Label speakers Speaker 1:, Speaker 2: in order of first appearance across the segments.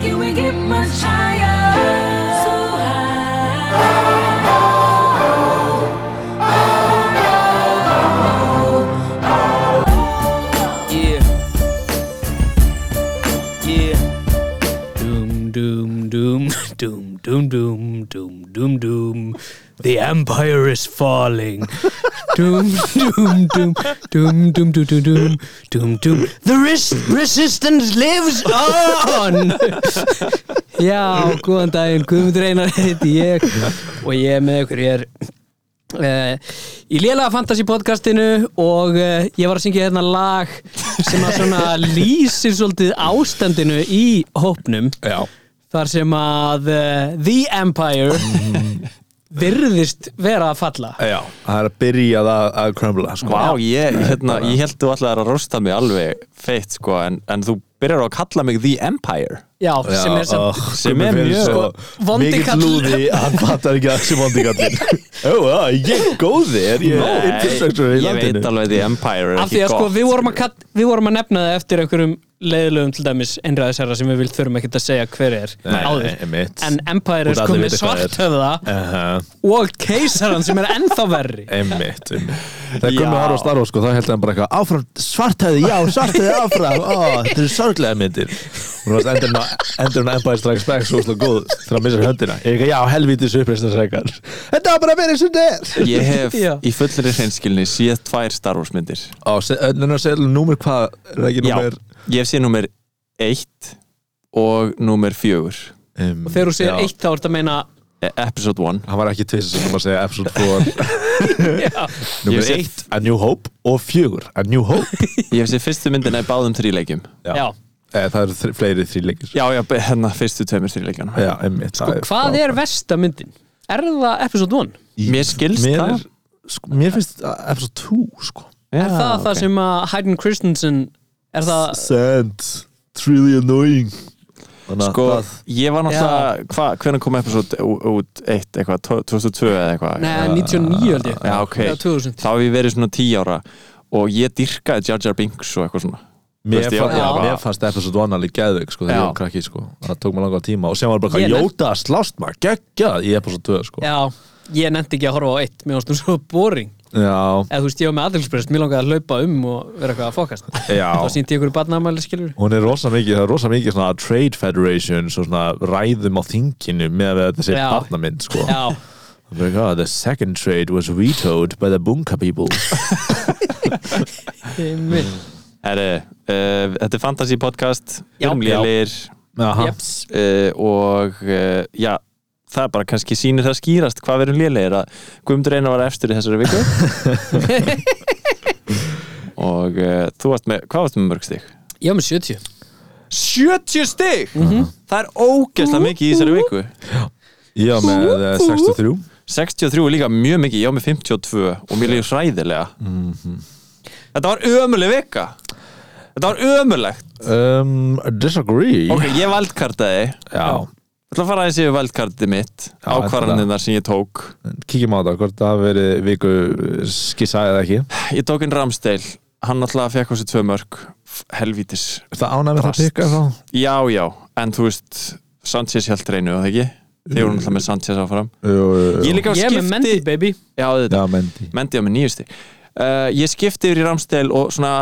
Speaker 1: Can we get much higher? So high.
Speaker 2: Yeah. Yeah. Doom, doom, doom, doom, doom, doom, doom, doom, doom. The empire is falling. Doom, doom, doom, doom, doom, doom, doom, doom, doom, doom. The res resistance lives on. Já, góðan daginn, Guðmundur Einar heiti ég og ég er með ykkur, ég er Uh, í lélega fantasy podcastinu og uh, ég var að syngja hérna lag sem að svona lýsir svolítið ástandinu í hópnum
Speaker 3: Já,
Speaker 2: þar sem að uh, The Empire virðist vera að falla
Speaker 3: já, það er að byrja að, að krömbla sko.
Speaker 4: Vá, ég, hérna, ég held þú alltaf að rosta mig alveg feitt sko, en, en þú byrjar á að kalla mig The Empire
Speaker 2: já, sem er
Speaker 3: ó,
Speaker 2: samt
Speaker 4: sem
Speaker 3: Gummi
Speaker 4: er
Speaker 3: Finnur
Speaker 4: mjög-
Speaker 3: svo
Speaker 2: Vondi
Speaker 3: mikill
Speaker 2: kall.
Speaker 3: lúði, hann fattar ekki að sem vondi kallin Ó, já, ég er góði er ég
Speaker 4: Nei,
Speaker 3: infrastructure í
Speaker 4: ég veit
Speaker 3: landinu
Speaker 4: alveg að The Empire er
Speaker 2: af því
Speaker 4: ekki
Speaker 2: að sko
Speaker 4: gott
Speaker 2: við vorum að, katt, við vorum að nefna það eftir einhverjum leiðilegum til dæmis einræðisherra sem við vilt þurfum ekkert að segja hver er
Speaker 3: Nei,
Speaker 2: áður.
Speaker 3: nei, einmitt.
Speaker 2: en Empire
Speaker 3: Og
Speaker 2: er
Speaker 3: allir
Speaker 2: sko með
Speaker 3: vita hvað er.
Speaker 2: svartöfða
Speaker 3: Aha,
Speaker 2: og keisaran sem er ennþá verri
Speaker 3: Einmitt, einmitt Þegar Gummi
Speaker 4: Já.
Speaker 3: var á Star Wars sko, þá held hann bara eitthvað áfram, svartæði, já, svartæði áfram Ó, þetta eru sorglega myndir Hún varst endur hún að Empire Strikes Back svo slá góð þegar hann missar höndina Ég eitthvað, já, helvítis uppreisnarsreikar Þetta var bara að vera eins og þetta er
Speaker 4: ég hef
Speaker 2: Já.
Speaker 4: í fullri hreinskilni séð tvær Star Wars myndir
Speaker 3: Á, önnur að segja númer hvað er ekki
Speaker 4: Já,
Speaker 3: númer
Speaker 4: ég hef séð númer eitt og númer fjögur
Speaker 3: um,
Speaker 2: þegar þú segir eitt þá ert að meina
Speaker 4: E- Episode 1
Speaker 3: Hann var ekki tvisið sem kom að segja episode 4
Speaker 4: Ég
Speaker 3: Númer
Speaker 4: sé-
Speaker 3: 1, A New Hope og 4, A New Hope
Speaker 4: ég hef séð fyrstu myndina í báðum þríleikjum
Speaker 3: Já,
Speaker 2: já.
Speaker 3: Eh, Það eru þri- fleiri þrýleikir
Speaker 4: já, já, be- hérna fyrstu tveimur þríleikjana
Speaker 3: Já, einmitt sko,
Speaker 2: hvað er versta myndin? er það episode 1?
Speaker 4: mér skilst
Speaker 3: mér,
Speaker 4: það
Speaker 3: er- sko, mér finnst að episode 2 sko.
Speaker 2: er það það sem að Hayden Christensen er það
Speaker 3: Sand, it's really annoying Þannig að
Speaker 4: Sko,
Speaker 3: það-
Speaker 4: ég var náttúrulega, hva, hvernig kom episode ú- út eitt, eitthvað, tvo- 2002 eða eitthvað
Speaker 2: Nei, 99 held ég
Speaker 4: Já, ok.
Speaker 2: Eða 2000
Speaker 4: Þá hef ég verið svona 10 ára og ég dyrkaði Jar Jar Binks og eitthvað svona
Speaker 3: Mér,
Speaker 4: veist, ég-
Speaker 3: fann,
Speaker 2: ég
Speaker 3: já,
Speaker 2: bara-
Speaker 3: mér fannst episode 1 alveg geðveik sko, þegar
Speaker 4: Já.
Speaker 3: ég var krakki sko. það tók mér langan tíma og sem var bara
Speaker 2: Ég
Speaker 3: hvað
Speaker 2: nefn-
Speaker 3: Jóta slást maður geggjað í episode 2 sko.
Speaker 2: já, ég nefndi ekki að horfa á eitt mér varst um svo boring
Speaker 3: Já,
Speaker 2: eða þú veist, ég var með aðeinsbreyst mér langaði að laupa um og vera eitthvað að fokast
Speaker 3: já
Speaker 2: þá sýndi ég ykkur barnaðamæli skilur
Speaker 3: hún er rosa mikið, það er rosa mikið svona trade federation, svona ræðum á þinginu með að þetta sé
Speaker 2: Já.
Speaker 3: barnamynd sko.
Speaker 2: já,
Speaker 3: Like, oh, the second trade was vetoed by the bunka people
Speaker 2: heimil
Speaker 4: Herri, uh, þetta er fantasy podcast
Speaker 2: Já.
Speaker 4: um lélir
Speaker 3: Aha.
Speaker 2: jeps
Speaker 4: uh, og uh, já, það bara kannski sýnir það skýrast hvað við erum lélir að Guðmundur Einar var efstur í þessari viku og uh, þú varst með, hvað varst með mörg stig?
Speaker 2: ég var með 70
Speaker 4: 70 stig! Það er ógeðslega mikið í þessari viku
Speaker 3: Já, með eh, 63
Speaker 4: 63 er líka mjög mikið, ég á með 52 og mér líður hræðilega Þetta var ömuleg vika Þetta var ömulegt
Speaker 3: um, Disagree
Speaker 4: Ok, ég valdkartaði Ég
Speaker 3: Já,
Speaker 4: ætla að fara aðeins yfir valdkartið mitt
Speaker 3: Já,
Speaker 4: ákvarðanirnar sem ég tók
Speaker 3: kíkjum á það, hvort það hafi verið viku skissa eða ekki
Speaker 4: Ég tók inn Ramsteil, hann alltaf fekk á sig tvö mörg Helvítis
Speaker 3: Það ánæmi það
Speaker 4: Drast.
Speaker 3: pikka þá
Speaker 4: Já, já, en þú veist Sanchez hjælt reynu, það ekki? Þið voru alltaf með Sanchez áfram
Speaker 3: Jú, jú, jú.
Speaker 4: Ég líka
Speaker 2: ég er með Mendy
Speaker 4: skipti
Speaker 2: baby
Speaker 4: Já, þetta
Speaker 3: Já, Mendy
Speaker 4: Mendi á með nýjusti uh, Ég skipti yfir í Ramsdale og svona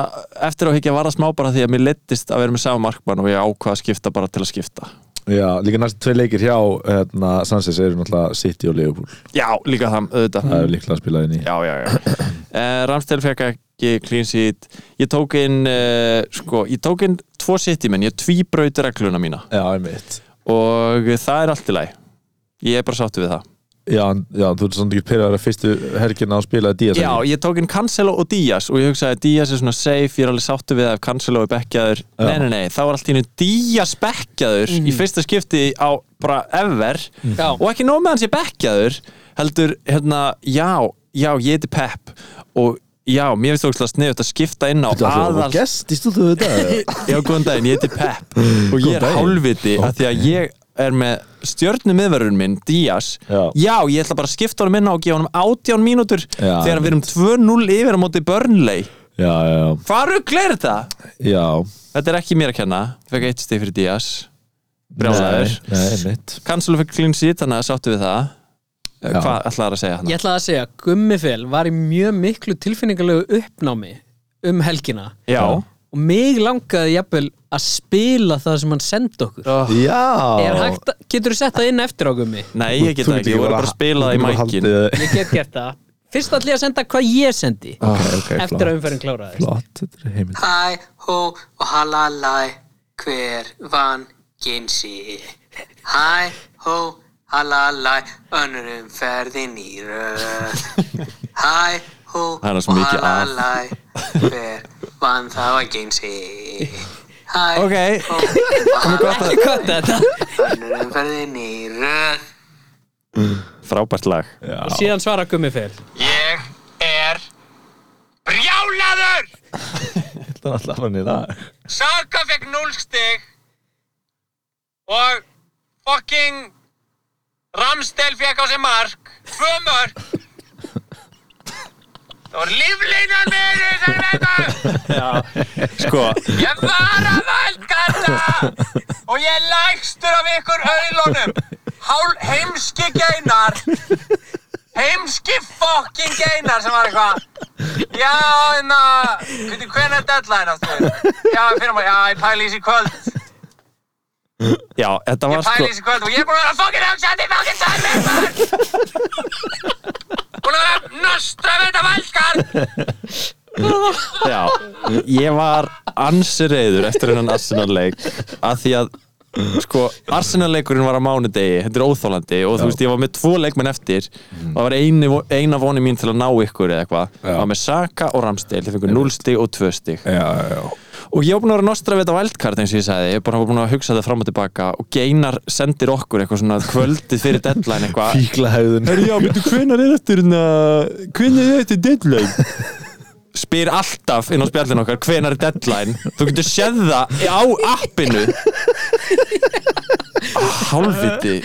Speaker 4: eftir á higgja var það smá bara því að mér leittist að vera með sama markmann og ég ákvað að skipta bara til að skipta
Speaker 3: Já, líka næstu tvei leikir hjá hérna, Sanchez eru náttúrulega City og Liverpool
Speaker 4: Já, líka það, auðvitað
Speaker 3: Það er líklega að spila inn í
Speaker 4: Já, já, já uh, Ramsdale fekk ekki clean sheet Ég tók inn, uh, sko, ég tók inn tvo sitt í menn, ég tvíbraut regluna mína
Speaker 3: Já, einmitt
Speaker 4: og það er allt í lagi Ég er bara sáttu við það
Speaker 3: Já, en- já þú ert svona ekki pyrraður að fyrstu helgina og spilaði Díaz
Speaker 4: Já, ég tók inn Cancelo og Díaz og ég hugsaði að Díaz er svona safe, ég er alveg sáttu við það ef Cancelo er bekkjaður, nei, nei, nei, þá var allt í hennu Díaz bekkjaður í fyrsta skipti á bara ever
Speaker 2: Já.
Speaker 4: og ekki nóg með hans ég bekkjaður heldur, hérna, já, já ég heiti Pep og já, mér finnst ógstlega sniðut að skipta inn á
Speaker 3: Þú ætlar að
Speaker 4: aðal
Speaker 3: vera gest í stútu þetta
Speaker 4: Já, góðan daginn, ég heiti Pep og ég
Speaker 3: Góðan
Speaker 4: er
Speaker 3: daginn.
Speaker 4: hálfviti af því að ég er með stjörnumiðverðurinn minn, Díaz
Speaker 3: Já.
Speaker 4: ég ætla bara að skipta honum inn á og gefa honum 18 mínútur
Speaker 3: Já,
Speaker 4: þegar við erum 2-0 yfir á móti Burnley
Speaker 3: Já, já,
Speaker 4: Hvað ruggl er þetta?
Speaker 3: já
Speaker 4: Þetta er ekki mér að kenna, fekk eitt stig fyrir Díaz brjálæður
Speaker 3: Nei, nei, mitt
Speaker 4: Cancelo fyrir clean sheet, þannig að sáttu við það Já.
Speaker 3: Já.
Speaker 4: Hvað ætlaðar að segja hann?
Speaker 5: Ég ætlaði að segja, Gummifel var í mjög miklu tilfinningalegu uppnámi um helgina
Speaker 4: Já,
Speaker 5: og mig langaði jafnvel að spila það sem hann sendi okkur
Speaker 4: Já.
Speaker 5: Er
Speaker 3: Já
Speaker 5: hægt, að- Getur þú sett það inn eftir á Gummi?
Speaker 4: Nei, ég get það ekki, ég voru bara að spila það í mækin
Speaker 5: Ég get gert það Fyrst ætla ég að senda hvað ég sendi
Speaker 3: Ah,
Speaker 5: eftir að
Speaker 3: Eftir að
Speaker 5: umferðin kláraði
Speaker 3: Flott, þetta er heimild
Speaker 6: Hæ, hó og halalai, hver vann gynsi? Hæ, hó, halalai, önnurum ferðin í röð. Hæ, hó
Speaker 4: Það er
Speaker 6: og
Speaker 4: svo mikið að.
Speaker 6: halalai, hver vann þá að gynsi? Hæ,
Speaker 4: Ok,
Speaker 6: hó, halalai,
Speaker 5: Ekki hvað þetta
Speaker 6: önnurum ferðin í röð.
Speaker 4: frábært lag
Speaker 5: Og síðan svara Gummifel
Speaker 6: Ég er brjálaður!
Speaker 3: Þetta er alltaf hann í dag
Speaker 6: Saka fekk 0 stig og fucking Ramstel fekk á sig mark tvö mörk það var líflínan með þessar veikur
Speaker 4: Sko,
Speaker 6: ég var að valdkalla og ég er lægstur af ykkur auðlunum Hál, heimski geinar heimski fucking geinar sem var eitthvað já, en að hvernig er deadline aftur já, fyrir maður, já, ég pæli í þessi í kvöld
Speaker 4: já, þetta var sko
Speaker 6: pæli í þessu kvöld og ég er búin að vera fokkin hugsandi fokkin sannir maður búin að vera nostra við þetta valskar
Speaker 4: Já, ég var ansi reyður eftir hennan Arsenal-leik að því að sko, Arsenal-leikurinn var á mánudegi þetta er óþólandi og þú veist, ég var með tvo leikmenn eftir og það var eini, eina voni mín til að ná ykkur eða eitthvað það var með Saka og Ramstil, þeir fengur 0 stig og 2 stig
Speaker 3: Já, já,
Speaker 4: og ég var búin að vera nostra við þetta vældkart eins og ég sagði, ég bara var búin að hugsa þetta fram og tilbaka og Geinar sendir okkur eitthvað svona kvöldið fyrir deadline eitthvað
Speaker 3: Fíkla hefðun
Speaker 4: Herri, já, veitu, hvenar er eftir hérna Hvenar er eftir deadline? Spyr alltaf inn á spjallin okkar Hvenar er deadline? Þú getur séð það á appinu Ah, Hálfviti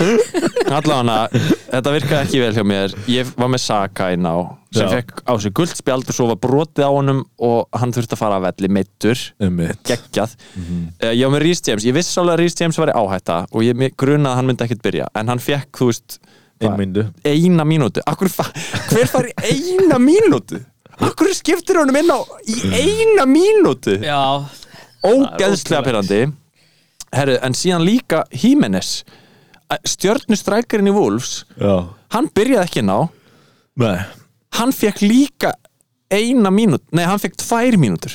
Speaker 4: Allavega, þetta virkaði ekki vel hjá mér Ég var með Saka inn á sem
Speaker 3: Já.
Speaker 4: fekk á sig gult spjald og svo var brotið á honum og hann þurfti að fara að velli meittur
Speaker 3: Mitt
Speaker 4: geggjað Eh, ég var með Rhys James, ég vissi alveg að Rhys James var í áhætta og ég mig grunaði að hann myndi ekkert byrja en hann fekk, þú veist,
Speaker 3: Einn myndu
Speaker 4: eina mínútu Akkur, fa- hver fær í eina mínútu? Akkur skiptir honum inn á í eina mínútu
Speaker 5: Já,
Speaker 4: ógeðslega pyrrandi Herru, en síðan líka Hímenes stjörnustrækirinn í Wolves
Speaker 3: Já
Speaker 4: hann byrjaði ekki ná
Speaker 3: Nei
Speaker 4: hann fekk líka eina mínút nei, hann fekk tvær mínútur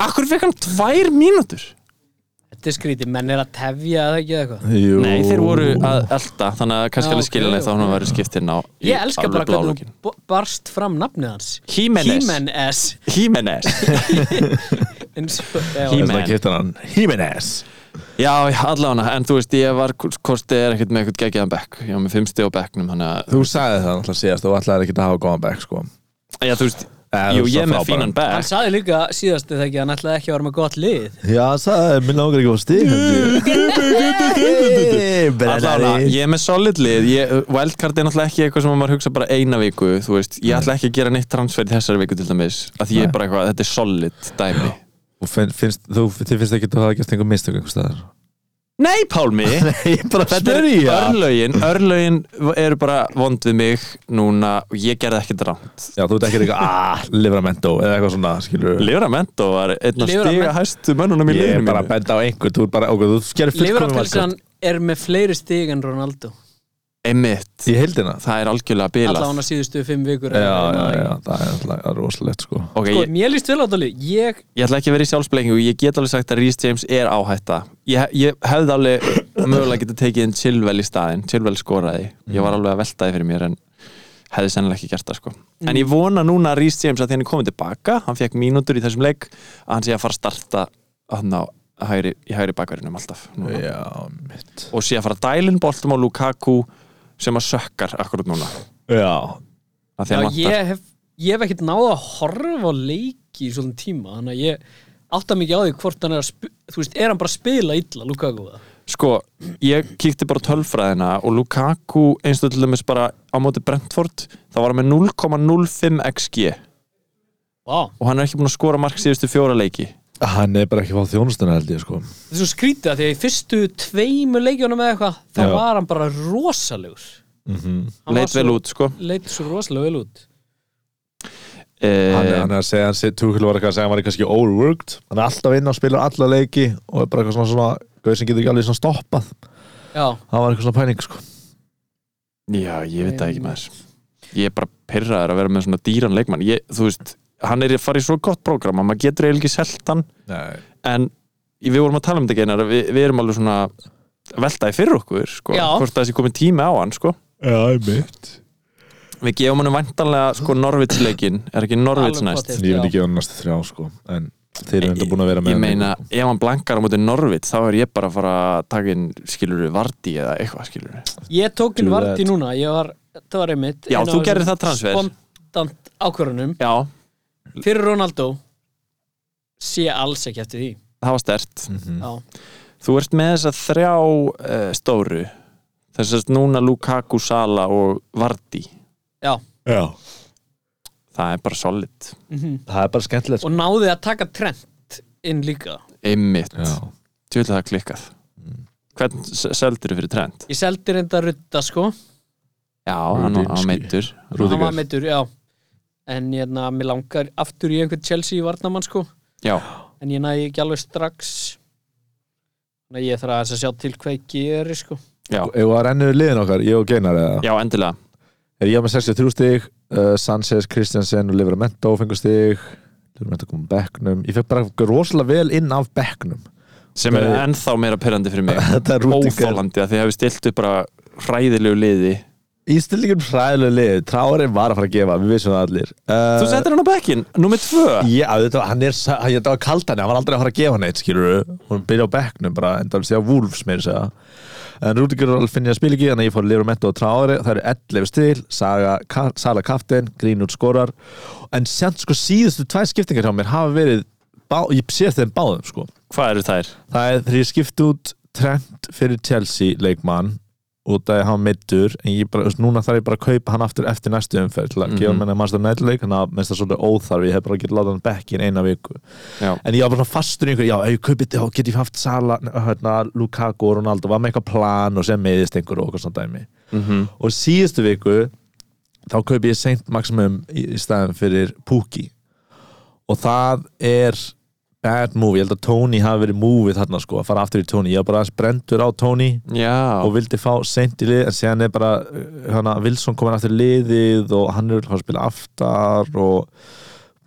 Speaker 4: Akkur fekk hann tvær mínútur?
Speaker 5: þetta er skrítið, menn er að tefja eða ekki eða eitthvað
Speaker 3: Jú.
Speaker 4: Nei, þeir voru að elda þannig að kannski
Speaker 5: Já,
Speaker 4: alveg skilja
Speaker 5: ok,
Speaker 4: neitt þá
Speaker 5: ok.
Speaker 4: hann verið skiptinn á í
Speaker 5: Ég elska bara hvernig
Speaker 4: alveg blálökin.
Speaker 5: þú bo- barst fram nafnið hans
Speaker 4: Jimenez.
Speaker 5: Jimenez
Speaker 4: Hímenes
Speaker 5: eins og- já.
Speaker 3: Þess
Speaker 4: Jim- Man.
Speaker 3: að kipta hann Jimenez
Speaker 4: Já, já, allavega, en þú veist, ég var kostið er ekkert með ekkert geggiðan bekk ég var með fimmsti á bekknum, þannig að
Speaker 3: Þú sagði það alltaf síðast og ætlaði ekki að hafa góðan bekk sko
Speaker 4: Já, þú veist,
Speaker 3: Eh,
Speaker 4: jú,
Speaker 3: þú
Speaker 4: ég er
Speaker 3: veist,
Speaker 4: með
Speaker 3: það
Speaker 4: fínan
Speaker 5: Hann
Speaker 4: bekk
Speaker 5: sagði líka síðast þegar ekki að hann ætlaði ekki að vera með gott lið
Speaker 3: Já, hann sagði, minn langar ekki að fá stig
Speaker 4: Allavega, ég er með solid lið ég, Wildcard er náttúrulega ekki eitthvað sem maður hugsa bara eina viku, þú veist, ég ætla ekki að gera neitt transfer í þessari viku til dæmis, að því ég er bara eitthvað þetta er solid dæmi
Speaker 3: Og finn- finnst, þú, þið finnst ekki að það hafa gert einhver mistök einhver staðar
Speaker 4: Nei, Pálmi,
Speaker 3: Ég bara
Speaker 4: þetta er örlögin örlögin eru bara vond við mig núna og ég gerði ekkert rámt
Speaker 3: Já, þú ert ekki eitthvað, aah, livramento eða eitthvað svona, skilur
Speaker 4: Livramento var einn af
Speaker 5: Livramento.
Speaker 4: stiga hæstu mönnunum í
Speaker 3: Ég er
Speaker 4: liðinu
Speaker 3: bara að
Speaker 4: mínu.
Speaker 3: benda á einhver, þú er bara, ok, þú skerir fullkomum
Speaker 5: Liverapilsan er með fleiri stig en Ronaldo
Speaker 4: Einmitt,
Speaker 3: Í heildina
Speaker 4: það er algjörlega
Speaker 5: Alla hann
Speaker 4: bilað
Speaker 5: að síðustu fimm vikur
Speaker 3: Já, já, já, það er alltaf rosalegt, sko
Speaker 4: Ok,
Speaker 5: Sko,
Speaker 4: ég,
Speaker 5: mér líst vel á þetta lið Ég,
Speaker 4: ég ætla ekki að vera í sjálfsbleikingu Ég get alveg sagt að Rhys James er áhætta Ég, ég hefði alveg mögulega getið tekið en Chilwell í staðinn Chilwell skoraði, ég
Speaker 5: Mhm.
Speaker 4: var alveg að velta því fyrir mér en hefði sennilega ekki gert það sko En
Speaker 5: Mhm.
Speaker 4: ég vona núna að Rhys James að því hann er komin tilbaka hann fekk mínútur í þessum leik að hann sé að fara að starta hann á hægri, í hægri bakverðinum alltaf núna.
Speaker 3: Já, mitt
Speaker 4: og sé að fara dælinn boltum á Lukaku sem að sökkar akkurat núna
Speaker 3: Já,
Speaker 4: að
Speaker 5: já,
Speaker 4: því að vantar
Speaker 5: ég hef Ég hef ekkert náð að horfa á leiki í svolítið tíma, þannig að ég átta mikið á því hvort hann er að sp- þú veist, er hann bara að spila illa, Lukaku eða?
Speaker 4: sko, ég kíkti bara á tölfræðina og Lukaku eins og til dæmis bara á móti Brentford þá var hann með 0,05 xg
Speaker 5: Vá,
Speaker 4: og hann er ekki búin að skora mark síðustu fjóra leiki
Speaker 3: Hann er bara ekki fáð þjónustuna held ég sko
Speaker 5: þetta er svo skrítið að því að í fyrstu tveimu leikjónum eða eitthvað þá
Speaker 3: Já.
Speaker 5: var hann bara rosalegur
Speaker 3: Mhm.
Speaker 5: Hann var
Speaker 4: leit
Speaker 5: svo-
Speaker 4: vel út sko
Speaker 5: leit svo rosalega vel út
Speaker 3: Hann er,
Speaker 4: e,
Speaker 3: hann er að segja, hann sé Tuchel var eitthvað að segja hann var kannski overworked Hann er alltaf inn og spilar alla leiki og er bara eitthvað svona, svona gauð sem getur ekki alveg svona stoppað
Speaker 5: já,
Speaker 3: Hann var eitthvað svona pæning sko
Speaker 4: Já, ég veit það ekki maður Ég er bara pyrraður að vera með svona dýran leikmann ég, Þú veist, hann er að fara í svo gott prógram að maður getur eiginlega ekki selt hann
Speaker 3: Nei,
Speaker 4: en við vorum að tala um þetta geinar við, við erum alveg svona veltaði fyrir okkur sko,
Speaker 5: Já.
Speaker 4: hvort það sé komið tími á hann sko.
Speaker 3: já, mitt
Speaker 4: við gefum hann vantanlega sko, Norvitsleikin, er ekki Norvits
Speaker 5: Alveg
Speaker 4: næst
Speaker 5: potið.
Speaker 3: Ég vil ekki gefa hann næstu þrjá sko En þeir eru enda búin að vera með
Speaker 4: ég
Speaker 3: hann hérna.
Speaker 4: meina,
Speaker 3: lengi,
Speaker 4: ef hann blankar á móti Norvits þá er ég bara að fara að taka inn skiluru Vardí eða eitthvað skiluru
Speaker 5: ég tók inn
Speaker 3: Do
Speaker 5: Vardí
Speaker 3: that.
Speaker 5: núna ég var, það var einmitt
Speaker 4: Já,
Speaker 5: ein af
Speaker 4: þú
Speaker 5: þessum
Speaker 4: gerðir það transfer.
Speaker 5: spontant ákvörunum
Speaker 4: já,
Speaker 5: fyrir Ronaldo sé alls ekki eftir því
Speaker 4: það var stert
Speaker 3: Mhm.
Speaker 5: já,
Speaker 4: þú ert með þess að þrjá uh, stóru þess að núna Lukaku, Sala og Vardí
Speaker 5: já.
Speaker 3: sko. Já,
Speaker 4: það er bara solid,
Speaker 3: það er bara skemmtilegt sko
Speaker 5: Mhm. og náði að taka trend inn líka
Speaker 4: einmitt
Speaker 3: Já, Mm.
Speaker 4: Tjóðlega það klikkað Hvern seldur þú fyrir trend?
Speaker 5: ég seldi reynda rutta sko
Speaker 4: Já, hann var- hann var
Speaker 3: Rudinski.
Speaker 4: meittur
Speaker 5: hann var
Speaker 3: Rúdíkar
Speaker 5: meittur, já en hérna, mér langar aftur í einhvern Chelsea varnamann sko
Speaker 4: Já,
Speaker 5: en ég næði ekki alveg strax þannig að ég þarf aðeins að sjá til hvað ég geri sko
Speaker 4: já,
Speaker 3: Ef að rennu liðin okkar, ég og Geinar eða
Speaker 4: já, endilega
Speaker 3: Er ég með 63 stig uh, Sanchez, Kristiansen og Livramento fengur stig Livramento kom á bekknum Ég fekk bara rosalega vel inn af bekknum
Speaker 4: Sem er ennþá meira perandi fyrir mig
Speaker 3: Þetta er Rúdiger
Speaker 4: Óþólandi að þið hefur stilt upp bara hræðilegu liði
Speaker 3: Ístillingum fræðilegu lið Trárin var að fara að gefa, við vissum það allir uh,
Speaker 4: Þú settir hann á bekkin, nummer tvö
Speaker 3: Já, þetta, var- hann er, sa- hann- þetta var kald hann, hann var aldrei að fara að gefa neitt, skilur Hún byrja á bekknum bara, en það er því að Wolves meir segja En Rúdiger og Alfinja spil ekki, þannig að ég fór Livramento og Trári Það eru 11 stil, Saga, Ka Sala Kaftin, Greenwood skorar En sent sko síðustu tvær skiptingar hjá mér hafa verið bá, Ég sé þeim báðum, sko
Speaker 4: Hvað eru þær?
Speaker 3: Það er þegar ég skipti út Trent fyrir Chelsea leikmann út af að hann middur en ég bara, þú veist, núna þarf ég bara að kaupa hann aftur eftir næstu umferð til að gefa hann að maður nætt leik þannig að minnst það svolítið óþarfi, ég hef bara getið láta hann bekk í eina viku
Speaker 4: Já,
Speaker 3: en ég var bara svona fastur í einhverju, já, ef ég kaupi þetta, þá get ég haft Sala, nei, hérna, Lukaku og Ronaldo var með eitthvað plan og sem meðist einhverju og eitthvað svona dæmi og síðustu viku þá kaupi ég Saint Maximum í, í staðin fyrir Puki og það er bad move, ég held að Tony hafi verið movið þarna sko, að fara aftur í Tony ég var bara aðeins brendur á Tony og
Speaker 4: já,
Speaker 3: vildi fá Saint í lið en síðan er bara, uh, hana, Wilson komin aftur í liðið og hann er að fara að spila aftar og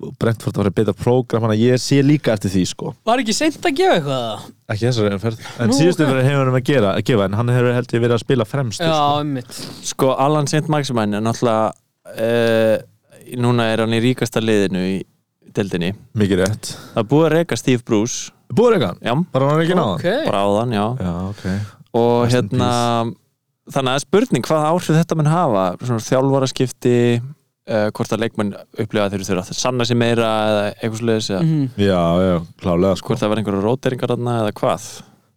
Speaker 3: og Brentford var að beita prógram, hann að ég sé líka eftir því sko
Speaker 5: var ekki seint að gefa eitthvað
Speaker 3: ekki þessari umferð en
Speaker 5: Nú,
Speaker 3: síðustu
Speaker 5: ok.
Speaker 3: umferð hefur hann að gera að gefa en hann hefur held ég verið að spila fremst
Speaker 5: já,
Speaker 3: sko.
Speaker 5: einmitt
Speaker 4: sko Alan Saint Maximin er náttúrulega uh, Núna er hann í ríkasta liðinu í deildinni
Speaker 3: mikið rétt
Speaker 4: Það er búið að reyka Steve Bruce
Speaker 3: búið eitthvað,
Speaker 4: Já,
Speaker 3: bara hann er ekki náðan
Speaker 5: ok,
Speaker 4: Hérna, bara áðan, já
Speaker 3: já, ok
Speaker 4: og
Speaker 3: Rest in
Speaker 4: hérna þannig að spurning hvað áhrif þetta mun hafa svona þjálfara skipti uh, hvort að leikmenn upplifa þeir þurfa að sanna sér meira eða eitthvað sliðis eða
Speaker 5: Mhm.
Speaker 3: já, já, klálega sko
Speaker 4: hvort það verða einhverja róteringar þarna eða hvað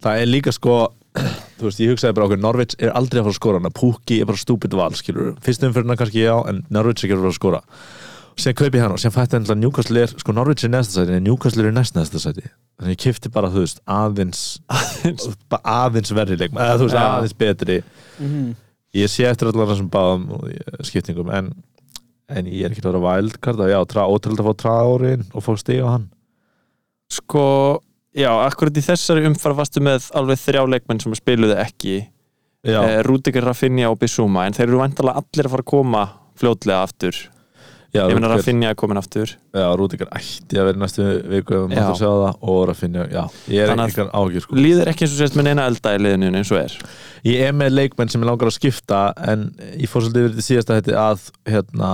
Speaker 3: það er líka sko þú veist, ég hugsaði bara okkur, Norvits er aldrei að fara að skora hana Pukki er bara stúpid val, skilur fyrst umfyrirna kannski já, en Norvits er ekki að fara að skora sem kaupi hann og sem fætti hann Newcastle er, sko Norvits er í næsta sæti en Newcastle er í næst næsta sæti þannig ég kifti bara, þú veist, aðeins bara aðeins verri leikmann eða þú veist,
Speaker 4: Já.
Speaker 3: aðeins betri ég sé eftir allar þessum báðum og, eh, skiptingum, en en ég er ekki að vera wildcard, að já, ótrúld að fá tráðurinn og fá stig á hann
Speaker 4: sko, já, akkurat í þessari umfara varstu með alveg þrjá leikmenn sem spiluðu ekki
Speaker 3: já,
Speaker 4: uh, Rúdikar Rafinha og Bissúma en þeir eru vantalega allir að fara að koma fljótlega aftur,
Speaker 3: já,
Speaker 4: ég meina
Speaker 3: Rúdiger-
Speaker 4: Rafinha er komin aftur
Speaker 3: Já, Rúdingar ætti að vera í næstu viku ef
Speaker 4: Já.
Speaker 3: maður sjá það og Rafinha, já ég er
Speaker 4: Þannig að-
Speaker 3: einhvern ágjur sko
Speaker 4: líður ekki eins og sést með neina elda í liðinu eins og er
Speaker 3: Ég er með leikmenn sem ég langar að skipta en ég fór svolítið yfir til síðasta hætti að hérna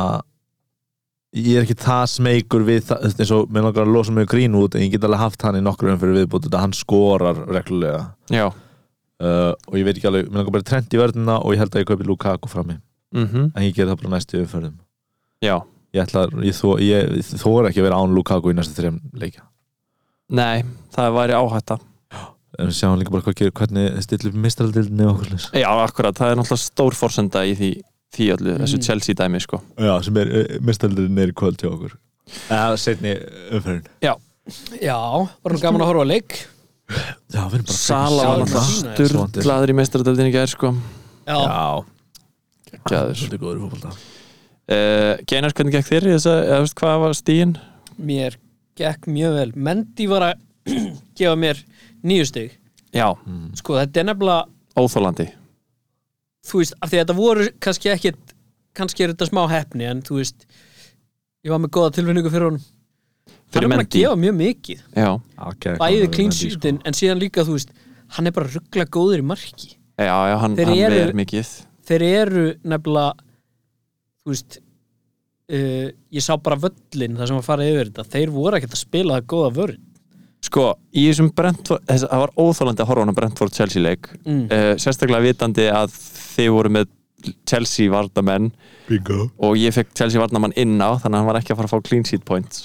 Speaker 3: ég er ekki það smeykur við það þú veist, eins og mér langar að losa mig grín út en ég get alveg haft hann í nokkru umfyrir viðbútt þetta hann skorar reglulega
Speaker 4: já,
Speaker 3: uh, og ég veit ekki alveg, mér langar bara trend í vörðina og ég held að ég kaupi Lukaku frammi
Speaker 4: mm
Speaker 3: en ég ger það bara næstu umfyrirðum
Speaker 4: já.
Speaker 3: Ég ætla, að- ég, þó, ég, ég þóra ekki að vera án Lukaku í næstu þrejum leikja
Speaker 4: nei, það væri áhætta
Speaker 3: en við sjáum líka bara hvað gerir, hvernig stillum mistraldildinni og okkur leys
Speaker 4: Já, akkurat, það er náttúrulega stór forsenda í því, því öllu, þessu
Speaker 5: Mm.
Speaker 4: Chelsea dæmi sko.
Speaker 3: eh, Já, sem er mistaldurinn er í kvöld hjá okkur Eða setni umferðin
Speaker 2: Já, var hann gaman að horfa á leik
Speaker 3: Já, við erum bara
Speaker 4: Sala var
Speaker 2: Sala.
Speaker 4: náttúrulega sturglaður í mestradöldinni gær sko
Speaker 2: Já,
Speaker 3: Já,
Speaker 4: Gæður
Speaker 3: svolítið góður í fólkvölda
Speaker 4: uh, Geinar, hvernig gekk þér í þess að, eða veist hvað var stíin?
Speaker 2: mér gekk mjög vel Mendy var að gefa mér nýju stig
Speaker 4: Já,
Speaker 2: Sko, þetta er nefnilega
Speaker 4: óþólandi
Speaker 2: þú veist, af því að þetta voru kannski ekkit kannski er þetta smá heppni en þú veist, ég var með góða tilfinningu fyrir honum hann
Speaker 4: Fyrir
Speaker 2: er bara að
Speaker 4: Mendy.
Speaker 2: gefa mjög mikið
Speaker 4: Já,
Speaker 2: bæði
Speaker 4: sko.
Speaker 2: klinsýtin, en síðan líka þú veist hann er bara ruggla góður í marki
Speaker 4: já, já hann,
Speaker 2: Þeir
Speaker 4: hann
Speaker 2: eru-
Speaker 4: ver mikið
Speaker 2: þeir eru nefnilega þú veist uh, ég sá bara völlin þar sem að fara yfir þetta þeir voru ekkert að spila það góða vörn
Speaker 4: Sko, í þessum Brentford þess, það var óþólandi að horfa á hann á Brentford Chelsea leik mm. sérstaklega vitandi að þið voru með Chelsea vardamenn
Speaker 3: Bingo
Speaker 4: og ég fekk Chelsea varnamann inn á þannig að hann var ekki að fara að fá clean sheet points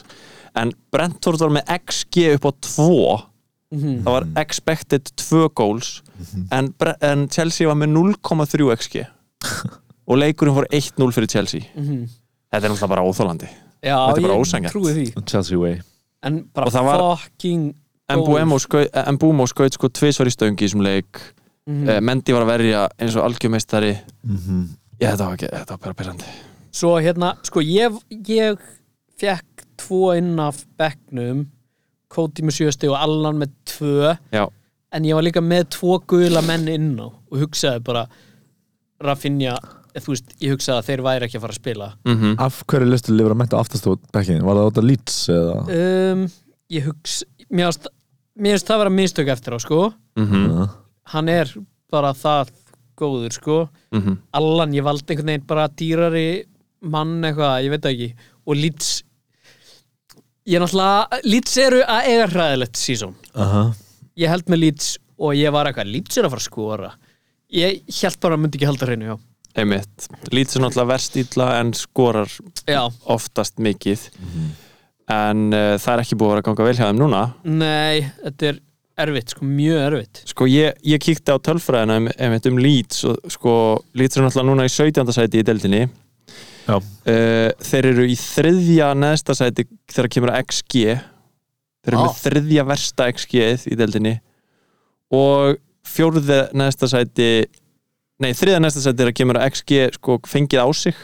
Speaker 4: en Brentford var með XG upp á 2 það var expected 2 goals en, Bre- en Chelsea var með 0,3 XG og leikurinn fór 1-0 fyrir Chelsea þetta er náttúrulega bara óþólandi
Speaker 2: já,
Speaker 4: Þetta er bara
Speaker 2: ég
Speaker 4: ósanngjarnt.
Speaker 2: trúi því
Speaker 3: Chelsea way
Speaker 2: en bara
Speaker 4: Og það var-
Speaker 2: fucking
Speaker 4: Mbuemo skau- eh, Mbumo skaut sko tvisvar í stöngi í þessum leik mm Mendy var að verja eins og algjörmeistari
Speaker 3: Mhm.
Speaker 4: Já, þetta var ekki, þetta var bara pyrrandi
Speaker 2: Svo hérna, sko ég, ég fekk tvo inn af bekknum Kóti með sjösti og Allan með tvö
Speaker 4: Já,
Speaker 2: en ég var líka með tvo guðla menn inn á og hugsaði bara Rafinha, eh, þú veist, ég hugsaði að þeir væri ekki að fara að spila
Speaker 4: Mhm,
Speaker 3: Af hverju listu lifur að menta aftast út bekkin? Var það átta Leeds eða?
Speaker 2: um, Ég hugsa, mér varst mér finnst það vera mistök eftir á, sko
Speaker 4: mhm.
Speaker 2: Hann er bara það góður, sko
Speaker 4: Mhm.
Speaker 2: Allan, ég valdi einhvern veginn bara dýrari mann eitthvað, ég veit það ekki og Leeds ég er náttúrulega, Leeds eru að eiga hræðilegt sísón
Speaker 3: Aha
Speaker 2: ég held með Leeds og ég var eitthvað Leeds er að fara að skora ég held bara að myndi ekki halda hreinu já.
Speaker 4: einmitt Lítið sem náttúrulega verst illa en skorar
Speaker 2: já,
Speaker 4: oftast mikið En uh, það er ekki búið að vera að ganga vel hjá þeim núna
Speaker 2: nei, þetta er erfitt, sko mjög erfitt
Speaker 4: Sko ég, ég kíkti á tölfræðina um, einmitt um Leeds og sko Leeds er náttúrulega núna í 17. sæti í deildinni
Speaker 3: Já
Speaker 4: uh, þeir eru í þriðja neðsta sæti þegar kemur að XG þeir eru
Speaker 3: Á.
Speaker 4: með þriðja versta XG -ið í deildinni og fjórða neðsta sæti nei, þriðja neðsta sæti þegar kemur að XG sko fengið á sig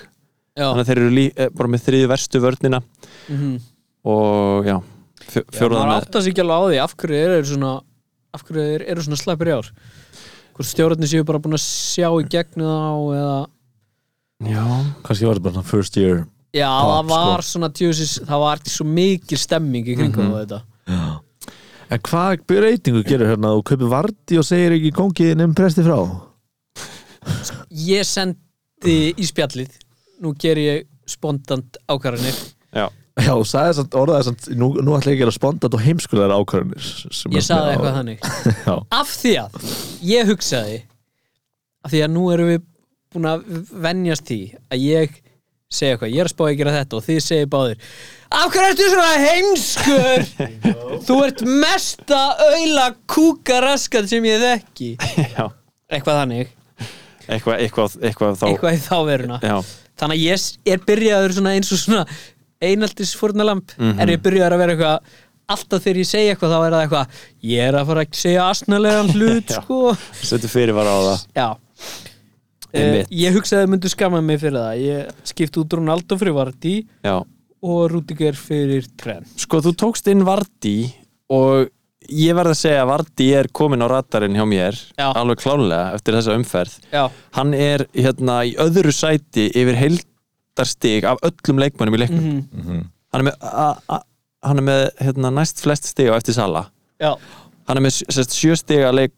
Speaker 2: já,
Speaker 4: þannig að þeir eru lí, eh, bara með þriðju verstu vörnina
Speaker 2: mm -hmm.
Speaker 4: og já, fjó- fjórða
Speaker 2: maður
Speaker 4: með
Speaker 2: áttast ekki alveg á því af hverju þeir eru svona af hverju þeir eru svona slappir í ár hvort stjórnarnir séu bara búin að sjá í gegnu þá eða
Speaker 4: já,
Speaker 3: Kanski var þetta bara svona first year
Speaker 2: já,
Speaker 3: Topp,
Speaker 2: það
Speaker 4: sko.
Speaker 2: var svona djúsis, það var svo mikil stemming í kringum
Speaker 4: Mhm.
Speaker 2: mm þetta
Speaker 3: En hvað breytingu gerir hérna? Þú kaupir varti og segir ekki kongiðin um presti frá
Speaker 2: ég sendi í spjallið nú ger ég spontant ákvarðanir
Speaker 4: já,
Speaker 3: Já, og sagði samt, orðaði samt Nú, nú ætla ég að gera spontant og heimskulegar ákvarðanir sem
Speaker 2: ég
Speaker 3: er svona
Speaker 2: sagði
Speaker 3: á-
Speaker 2: eitthvað þannig
Speaker 3: Já.
Speaker 2: af því að ég hugsaði af því að nú erum við búin að venjast því að ég segja eitthvað, ég er að spá að gera þetta og þið segir báðir af hverju ertu svona heimskur þú ert mesta auðla kúkaraskat sem ég þekki
Speaker 4: já
Speaker 2: eitthvað þannig,
Speaker 4: eitthvað, eitthvað, eitthvað þá
Speaker 2: eitthvað í þá veruna
Speaker 4: já,
Speaker 2: þannig að ég s- er byrjaður svona eins og svona einaldis fórnalamb
Speaker 4: Mhm.
Speaker 2: er ég byrjaður að vera eitthvað alltaf þegar ég segi eitthvað þá er það eitthvað ég er að fara að segja asnalegan hlut
Speaker 4: Já.
Speaker 2: sko
Speaker 4: setur fyrir var á það
Speaker 2: Já
Speaker 4: Einmitt.
Speaker 2: Eh, Ég hugsaði að myndu skamma mig fyrir það Ég skipti út Ronaldo fyrir Vardí
Speaker 4: já
Speaker 2: og Rúdiger fyrir Trent
Speaker 4: Sko, þú tókst inn Vardí og ég verð að segja að Vardí er komin á radarinn hjá mér
Speaker 2: Já.
Speaker 4: alveg klálega eftir þessa umferð
Speaker 2: Já,
Speaker 4: hann er hérna í öðru sæti yfir heildarstig af öllum leikmönnum í leiknum
Speaker 2: Mhm.
Speaker 4: hann er með, a, a, hann er með hérna, næst flest stig á eftir Sala
Speaker 2: já,
Speaker 4: hann er með sérst, sjö stig á leik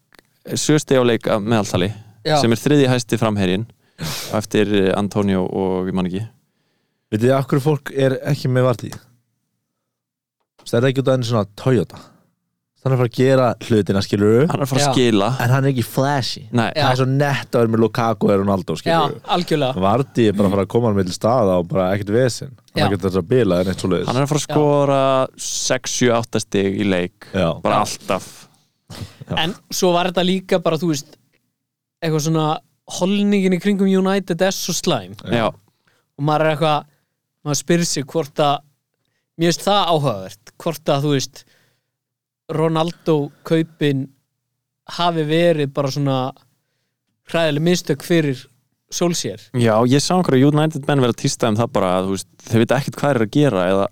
Speaker 4: sjö stig á leik að meðaltali
Speaker 2: Já.
Speaker 4: sem er þriði hæsti framherjinn á eftir eh, Antonio og ég man ekki
Speaker 3: Vitið þið af hverju fólk er ekki með varti? Það er ekki út af enn svona Toyota Þannig að fara að gera hlutina skilur
Speaker 4: hann er að fara
Speaker 2: Já.
Speaker 4: að skila
Speaker 3: En hann er ekki flashy
Speaker 4: Nei,
Speaker 2: Já.
Speaker 3: Það er svo nett að vera með Lukaku og Ronaldo
Speaker 2: já,
Speaker 3: skilur
Speaker 2: algjörlega
Speaker 3: Vardí er bara að fara að koma hann með til staða og bara ekkert vesinn Hann
Speaker 2: Já.
Speaker 3: er ekkert þess að bila en eitt svo leiðis
Speaker 4: hann er að fara að skora 6-7-8 stig í leik
Speaker 3: Já,
Speaker 4: bara alltaf
Speaker 2: En svo var þetta líka bara, þú veist eitthvað svona holningin í kringum United er svo slæm
Speaker 4: já,
Speaker 2: og maður er eitthvað maður spyrir sig hvort að mér finnst það áhugavert hvort að þú veist Ronaldo kaupin hafi verið bara svona hræðileg mistök fyrir Solskjær
Speaker 4: Já, ég sá einhverju United menn vera að tísta um það bara að þú veist, þeir veit ekkert hvað þeir eru að gera eða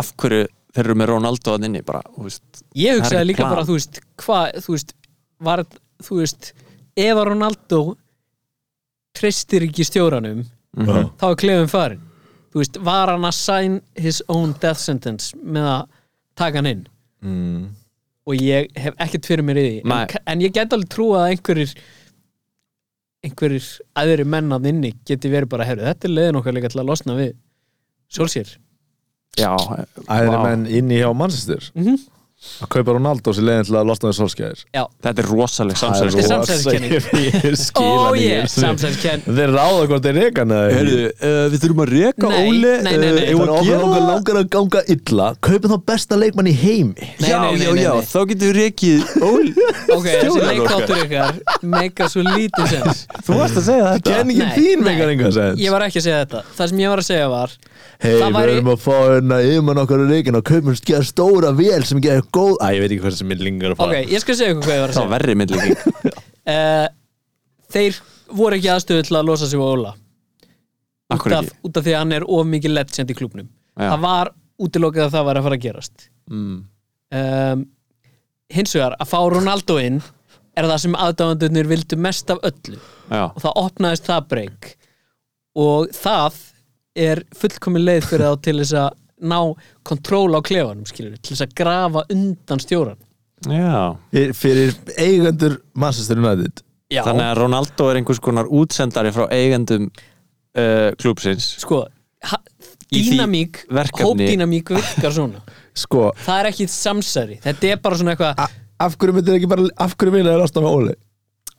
Speaker 4: af hverju þeir eru með Ronaldo að inni bara, þú veist,
Speaker 2: Ég
Speaker 4: Það er
Speaker 2: hugsaði
Speaker 4: ekki
Speaker 2: líka
Speaker 4: plan.
Speaker 2: bara, þú veist, hvað, þú veist, var, þú veist, ef að Ronaldo treystir ekki stjóranum,
Speaker 3: Já.
Speaker 2: þá er klefum farin. Þú veist, var hann að sign his own death sentence með að taka hann inn?
Speaker 3: Mm.
Speaker 2: Og ég hef ekkert fyrir mér í því.
Speaker 4: Nei.
Speaker 2: En, en ég get alveg trúa að einhverjir, einhverjir aðri menn að inni geti verið bara, herru, þetta er leiðin okkar líka til að losna við Solskjær.
Speaker 4: já
Speaker 3: Æðri
Speaker 4: vá.
Speaker 3: menn inni hjá Manchester
Speaker 2: Mhm.
Speaker 3: að kaupa Ronaldo sér leiðin til að losna við solskjæðir
Speaker 4: þetta er rosaleg sko.
Speaker 2: Þetta er
Speaker 4: samsæðis
Speaker 2: ro- samsæriskenning.
Speaker 3: Ég skil
Speaker 2: Ó,
Speaker 3: hann ekki
Speaker 2: ég,
Speaker 3: einu sinni.
Speaker 2: samsæðiskenn.
Speaker 3: Þeir ráða hvort þeir reka hann eða ekki.
Speaker 4: eh, við þurfum að reka
Speaker 2: Nei, Óli, nei, nei, nei. eh, eigum
Speaker 3: Þegar okkur langar, langar að ganga illa Kaupið þá besta leikmann í heimi
Speaker 2: Nei,
Speaker 4: Já,
Speaker 2: nei, nei,
Speaker 4: já,
Speaker 2: nei,
Speaker 4: já,
Speaker 2: nei.
Speaker 4: þá getum við rekið Óli,
Speaker 2: Ok, þessi leikáttur ykkar meika svo lítið sens
Speaker 4: þú varst að segja þetta
Speaker 3: Kenningin
Speaker 2: Nei,
Speaker 3: þín
Speaker 2: nei.
Speaker 3: megar engan sens
Speaker 2: Ég var ekki að segja þetta Það sem ég var að segja var
Speaker 3: Hei,
Speaker 2: það
Speaker 3: við
Speaker 2: væri-
Speaker 3: erum að fá hérna yfirmann okkar í reikin og kaupum skjæða stóra vél sem gerir góð Æ, ég veit ekki hvað sem minn lingar að
Speaker 2: Ok,
Speaker 3: fara
Speaker 2: ég skal segja ykkur hvað ég var að
Speaker 4: Það var
Speaker 2: segja
Speaker 4: verri myndlíking
Speaker 2: uh, Þeir voru ekki aðstöðu til að losa sig á Óla út
Speaker 4: Akkur
Speaker 2: af,
Speaker 4: ekki
Speaker 2: út af því að hann er of mikið legend í klubnum
Speaker 4: Já.
Speaker 2: Það var útilokað að það var að fara að gerast
Speaker 4: Mm.
Speaker 2: um, Hins vegar, að fá Ronaldo inn er það sem aðdáðandurnir vildu mest af öllu
Speaker 4: Já,
Speaker 2: og það opnaðist það breyk og það er fullkomin leið fyrir þá til þess að ná kontról á klefanum skilur, til þess að grafa undan stjóran
Speaker 4: já
Speaker 3: Ég- Fyrir eigendur Manchester United
Speaker 2: Já,
Speaker 4: Þannig að Ronaldo er einhvers konar útsendari frá eigendum uh, klúpsins
Speaker 2: sko ha-
Speaker 4: Í því
Speaker 2: dýnamík,
Speaker 4: verkefni-
Speaker 2: hópdýnamík virkar svona,
Speaker 3: Sko,
Speaker 2: það er ekki samsæri þetta er bara svona eitthvað,
Speaker 3: a- af hverju myndir ekki bara af hverju myndir að losna með Óli?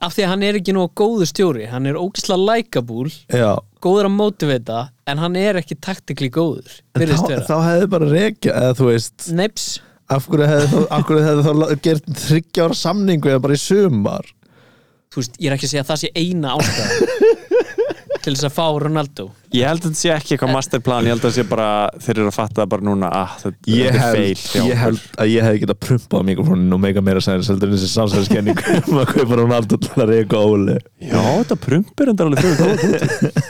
Speaker 2: af því að hann er ekki nóg góður stjóri, hann er ógislega lækabúl
Speaker 3: Já,
Speaker 2: góður að mótivita en hann er ekki taktikli góður
Speaker 3: En
Speaker 2: virðist
Speaker 3: þá,
Speaker 2: vera,
Speaker 3: þá hefði bara rekja eða þú veist,
Speaker 2: neips
Speaker 3: af hverju hefði þá, af hverju hefði þá la- gert 30 ára samningu eða bara í sumar
Speaker 2: þú veist, ég er ekki að segja að það sé eina ástæða til þess að fá Ronaldo
Speaker 4: Ég held að þetta sé
Speaker 2: Eh.
Speaker 4: ekki eitthvað masterplan Ég held að þetta sé bara, þeir eru að fatta það bara núna ah, þetta,
Speaker 3: ég
Speaker 4: þetta er feil
Speaker 3: held,
Speaker 4: hjá okkur.
Speaker 3: ég held að ég hefði getað prumpað mikrofónin og meika meira sæðins heldur en þessi samsæðiskenning um að kaupa hún alltaf til að reka Óli
Speaker 4: Já, þetta prumpir enda alveg fyrir góð punktur.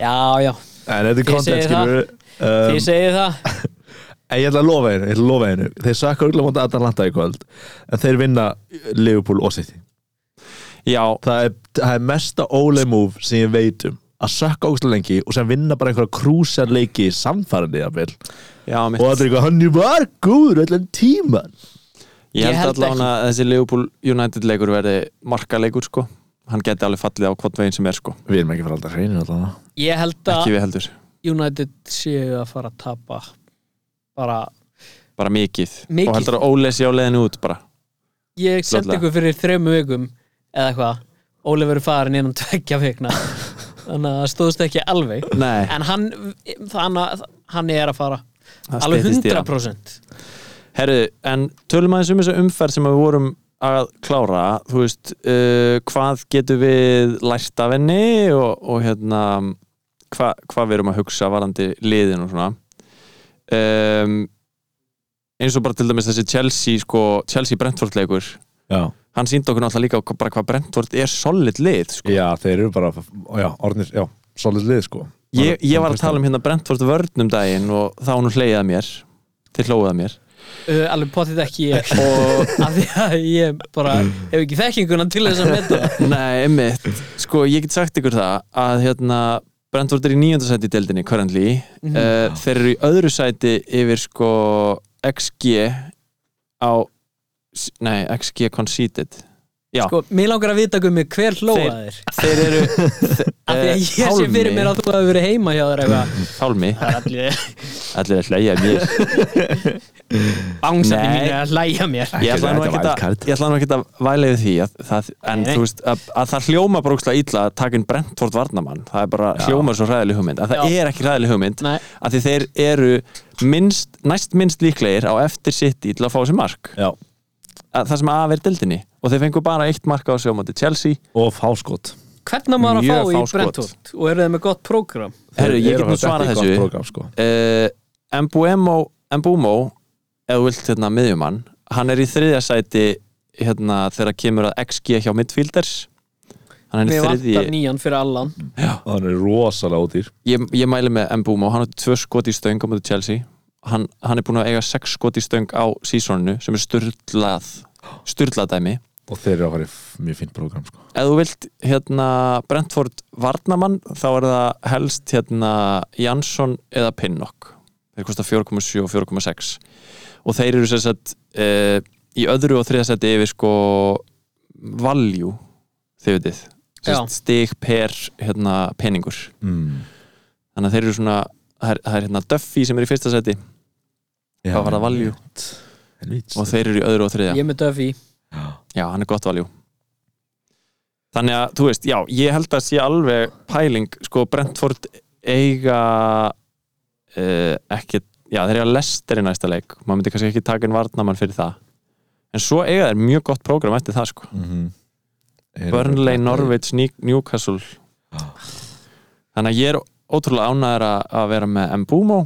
Speaker 2: Já, já,
Speaker 3: en þetta er
Speaker 2: Þið
Speaker 3: kontent
Speaker 2: segið það.
Speaker 3: skilur
Speaker 2: þið
Speaker 3: um,
Speaker 2: segið það
Speaker 3: en ég ætla að lofa einu, ég ætla að lofa einu þeir sakka auðvitað mútið Atalanta í kvöld en þeir vinna Liverpool og City
Speaker 4: Já,
Speaker 3: það er, það er mesta Óli move sem ég veit um að sökka ógustlega lengi og sem vinna bara einhverja krúsar leiki samfærandi jafnvel
Speaker 4: já, mitt
Speaker 3: og það er eitthvað hann var góður allan tíman
Speaker 4: Ég
Speaker 2: Ég
Speaker 4: held
Speaker 2: held
Speaker 4: allavega að þessi Liverpool United leikur verði markaleikur sko Hann geti alveg fallið á hvort veginn sem er sko
Speaker 3: við erum ekki fyrir alltaf hreinir allan
Speaker 2: Ég held
Speaker 4: Ekki
Speaker 2: að
Speaker 4: við heldur,
Speaker 2: United séu að fara að tapa bara,
Speaker 4: bara mikið,
Speaker 2: Mikið.
Speaker 4: Og heldur að Óli sé á leiðinu út bara
Speaker 2: ég sendi
Speaker 4: Fljótlega.
Speaker 2: ykkur fyrir þremu vikum eða eitthvað, Óli verið farin innan tveggja vikna þannig að það stóðst ekki alveg
Speaker 4: Nei,
Speaker 2: en hann, þannig að hann er að fara
Speaker 4: það
Speaker 2: alveg
Speaker 4: styttist í hann.
Speaker 2: 100%
Speaker 4: Herru, en tölum aðeins um þessu umferð sem við vorum að klára þú veist, uh, hvað getum við lært af henni og, og hérna hva, hvað við erum að hugsa varandi liðin og svona um, eins og bara til dæmis þessi Chelsea sko, Chelsea Brentford leikur
Speaker 3: já.
Speaker 4: hann síndi okkur náttúrulega líka hva- bara hvað Brentford er solid lið sko.
Speaker 3: já, þeir eru bara já, orðnir, já, solid lið sko
Speaker 4: ég, ég var að tala um hérna Brentford vörnum daginn og þá hún hleyjaði mér til hlóðað mér
Speaker 2: uh, alveg potið ekki ég og af því að ég bara hef ekki þekkinguna til þess að metta það.
Speaker 4: Nei, einmitt, sko ég get sagt ykkur það að hérna Brentford er í nýjönda sæti í deildinni currently
Speaker 2: Mhm.
Speaker 4: mm. þeir eru í öðru sæti yfir sko XG á nei, XG conceded Já,
Speaker 2: sko, mér langar að vita gummi hver hlóa
Speaker 4: Þeir- Eh,
Speaker 2: þér
Speaker 4: þeir eru
Speaker 2: af því að ég sé fyrir mér að þú hefur verið heima hjá þér eitthvað
Speaker 4: Pálmi, allir er hlæja að mér
Speaker 2: Bángsætti
Speaker 4: Nei.
Speaker 2: mín er að læja mér
Speaker 4: Ég ætla nú
Speaker 3: Þetta er
Speaker 4: ekkert að-
Speaker 3: wildcard.
Speaker 4: ég ætla nú ekkert að væla við því að, það, en
Speaker 2: Nei.
Speaker 4: þú veist að, að það hljóma brókslega illa að taka inn Brentford varnamann það er bara hljómar svo ræðileg hugmynd en það
Speaker 2: Já.
Speaker 4: er ekki ræðileg hugmynd
Speaker 2: Nei.
Speaker 4: að því þeir eru minnst, næst minnst líklegir á eftir sitt í til að fá sér mark
Speaker 3: já,
Speaker 4: að, það sem af er dildinni og þeir fengu bara eitt mark á sig á móti Chelsea
Speaker 3: og fáskot
Speaker 2: Hvernig á maður að
Speaker 4: Mjög
Speaker 2: fá í
Speaker 4: fá skot.
Speaker 2: Brentford og eru þeir með gott prógram
Speaker 4: Herru, ég get nú svarað þessu Eh,
Speaker 3: program, sko.
Speaker 4: uh, Mbuemo Mbumo, ef þú vilt hérna miðjumann hann er í þriðja sæti hérna, þegar kemur að XG hjá midfielders hann er
Speaker 2: Við
Speaker 4: í
Speaker 2: vantar
Speaker 4: þriðji
Speaker 2: nýjan fyrir allan
Speaker 3: og hann er rosalega ódýr
Speaker 4: ég, ég mæli með Mbúma og hann átti tvö skot í stöng á mjög Chelsea hann, hann er búin að eiga sex skot í stöng á sísoninu sem er styrlað styrlað dæmi
Speaker 3: og þeir eru að fara í f- mjög fint program sko.
Speaker 4: ef þú vilt hérna Brentford Varnamann þá er það helst hérna Jansson eða Pinnock þeir kosta 4,7 og 4,6 og þeir eru sem sagt e, í öðru og þriða seti yfir sko value þið vitið Sem sagt, stig per hérna peningur
Speaker 3: mm.
Speaker 4: þannig að þeir eru svona það er, það er hérna Duffy sem er í fyrsta seti
Speaker 3: Já,
Speaker 4: Hvað var það, value?
Speaker 3: Helvítis.
Speaker 4: og þeir eru í öðru og þriða
Speaker 2: Ég er með Duffy
Speaker 4: Já, hann er gott valjú Þannig að, þú veist, já, ég held að sé alveg pæling, sko, Brentford eiga uh, ekki, já, þeir eiga lestir í næsta leik, maður myndi kannski ekki taka inn varnamann fyrir það, en svo eiga þeir mjög gott prógram eftir það, sko
Speaker 3: Mhm. Eru-
Speaker 4: Burnley, Norwich, Ní- Newcastle Þannig að ég er ótrúlega ánæður að vera með Mbumo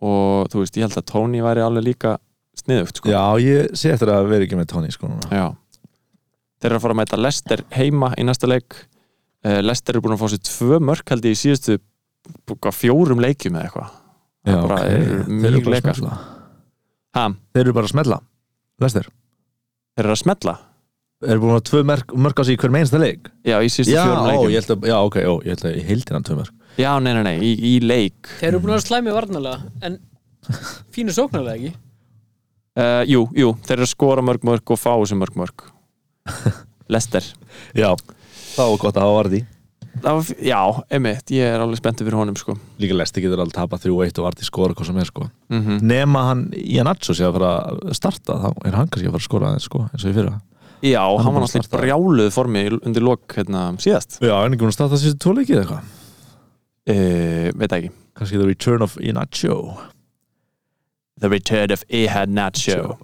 Speaker 4: og, þú veist, ég held að Tony væri alveg líka sniðugt, sko
Speaker 3: Já, ég sé eftir að vera ekki með Tony sko núna
Speaker 4: Já Þeir eru að fara að mæta Lester heima í næsta leik Eh, Lester eru búin að fá sér tvö mörk held ég í síðustu hvað, fjórum leikjum eða eitthvað
Speaker 3: Já,
Speaker 4: bara
Speaker 3: ok.
Speaker 4: eru
Speaker 3: Þeir eru
Speaker 4: mjög
Speaker 3: bara að
Speaker 4: leikar.
Speaker 3: smella.
Speaker 4: Ha,
Speaker 3: sko. Þeir eru bara að smella Lester
Speaker 4: þeir eru að smella
Speaker 3: Þeir eru búin að hafa tvö mörk, mörk á sig í hver meinsta leik
Speaker 4: Já, í síðustu
Speaker 3: Já,
Speaker 4: fjórum
Speaker 3: ó,
Speaker 4: leikjum
Speaker 3: ég held að, já, ok, ó, ég held að ég heildi hann tvö mörk
Speaker 4: Já, nei, nei, nei, í, í leik
Speaker 2: Þeir eru búin að vera slæmi varnalega En fínu sóknarlega ekki
Speaker 4: uh, Jú, jú, þeir eru að skora mörg mörg og fá þessu mörg mörg Lester
Speaker 3: Já, það var gott að hafa varði
Speaker 4: Það var, f- Já, einmitt, ég er alveg spenntið fyrir honum sko.
Speaker 3: Líka Lester getur alveg tapað 3-1 og varði skora hvað sem er sko
Speaker 4: mm
Speaker 3: Nema hann í að natso sé að fara að starta þá er hann kannski að fara að skora aðeins sko eins og í fyrra
Speaker 4: Já, hann,
Speaker 3: búinn að Eh,
Speaker 4: var náttúrulega í
Speaker 3: starta.
Speaker 4: brjáluðu formi undir lok hérna, síðast
Speaker 3: Já, hann er ekki búin að starta síðan tvo leikið eitthvað
Speaker 4: uh, Veit það ekki
Speaker 3: Kannski the return of Inacho
Speaker 4: The Return of Ehad Nacho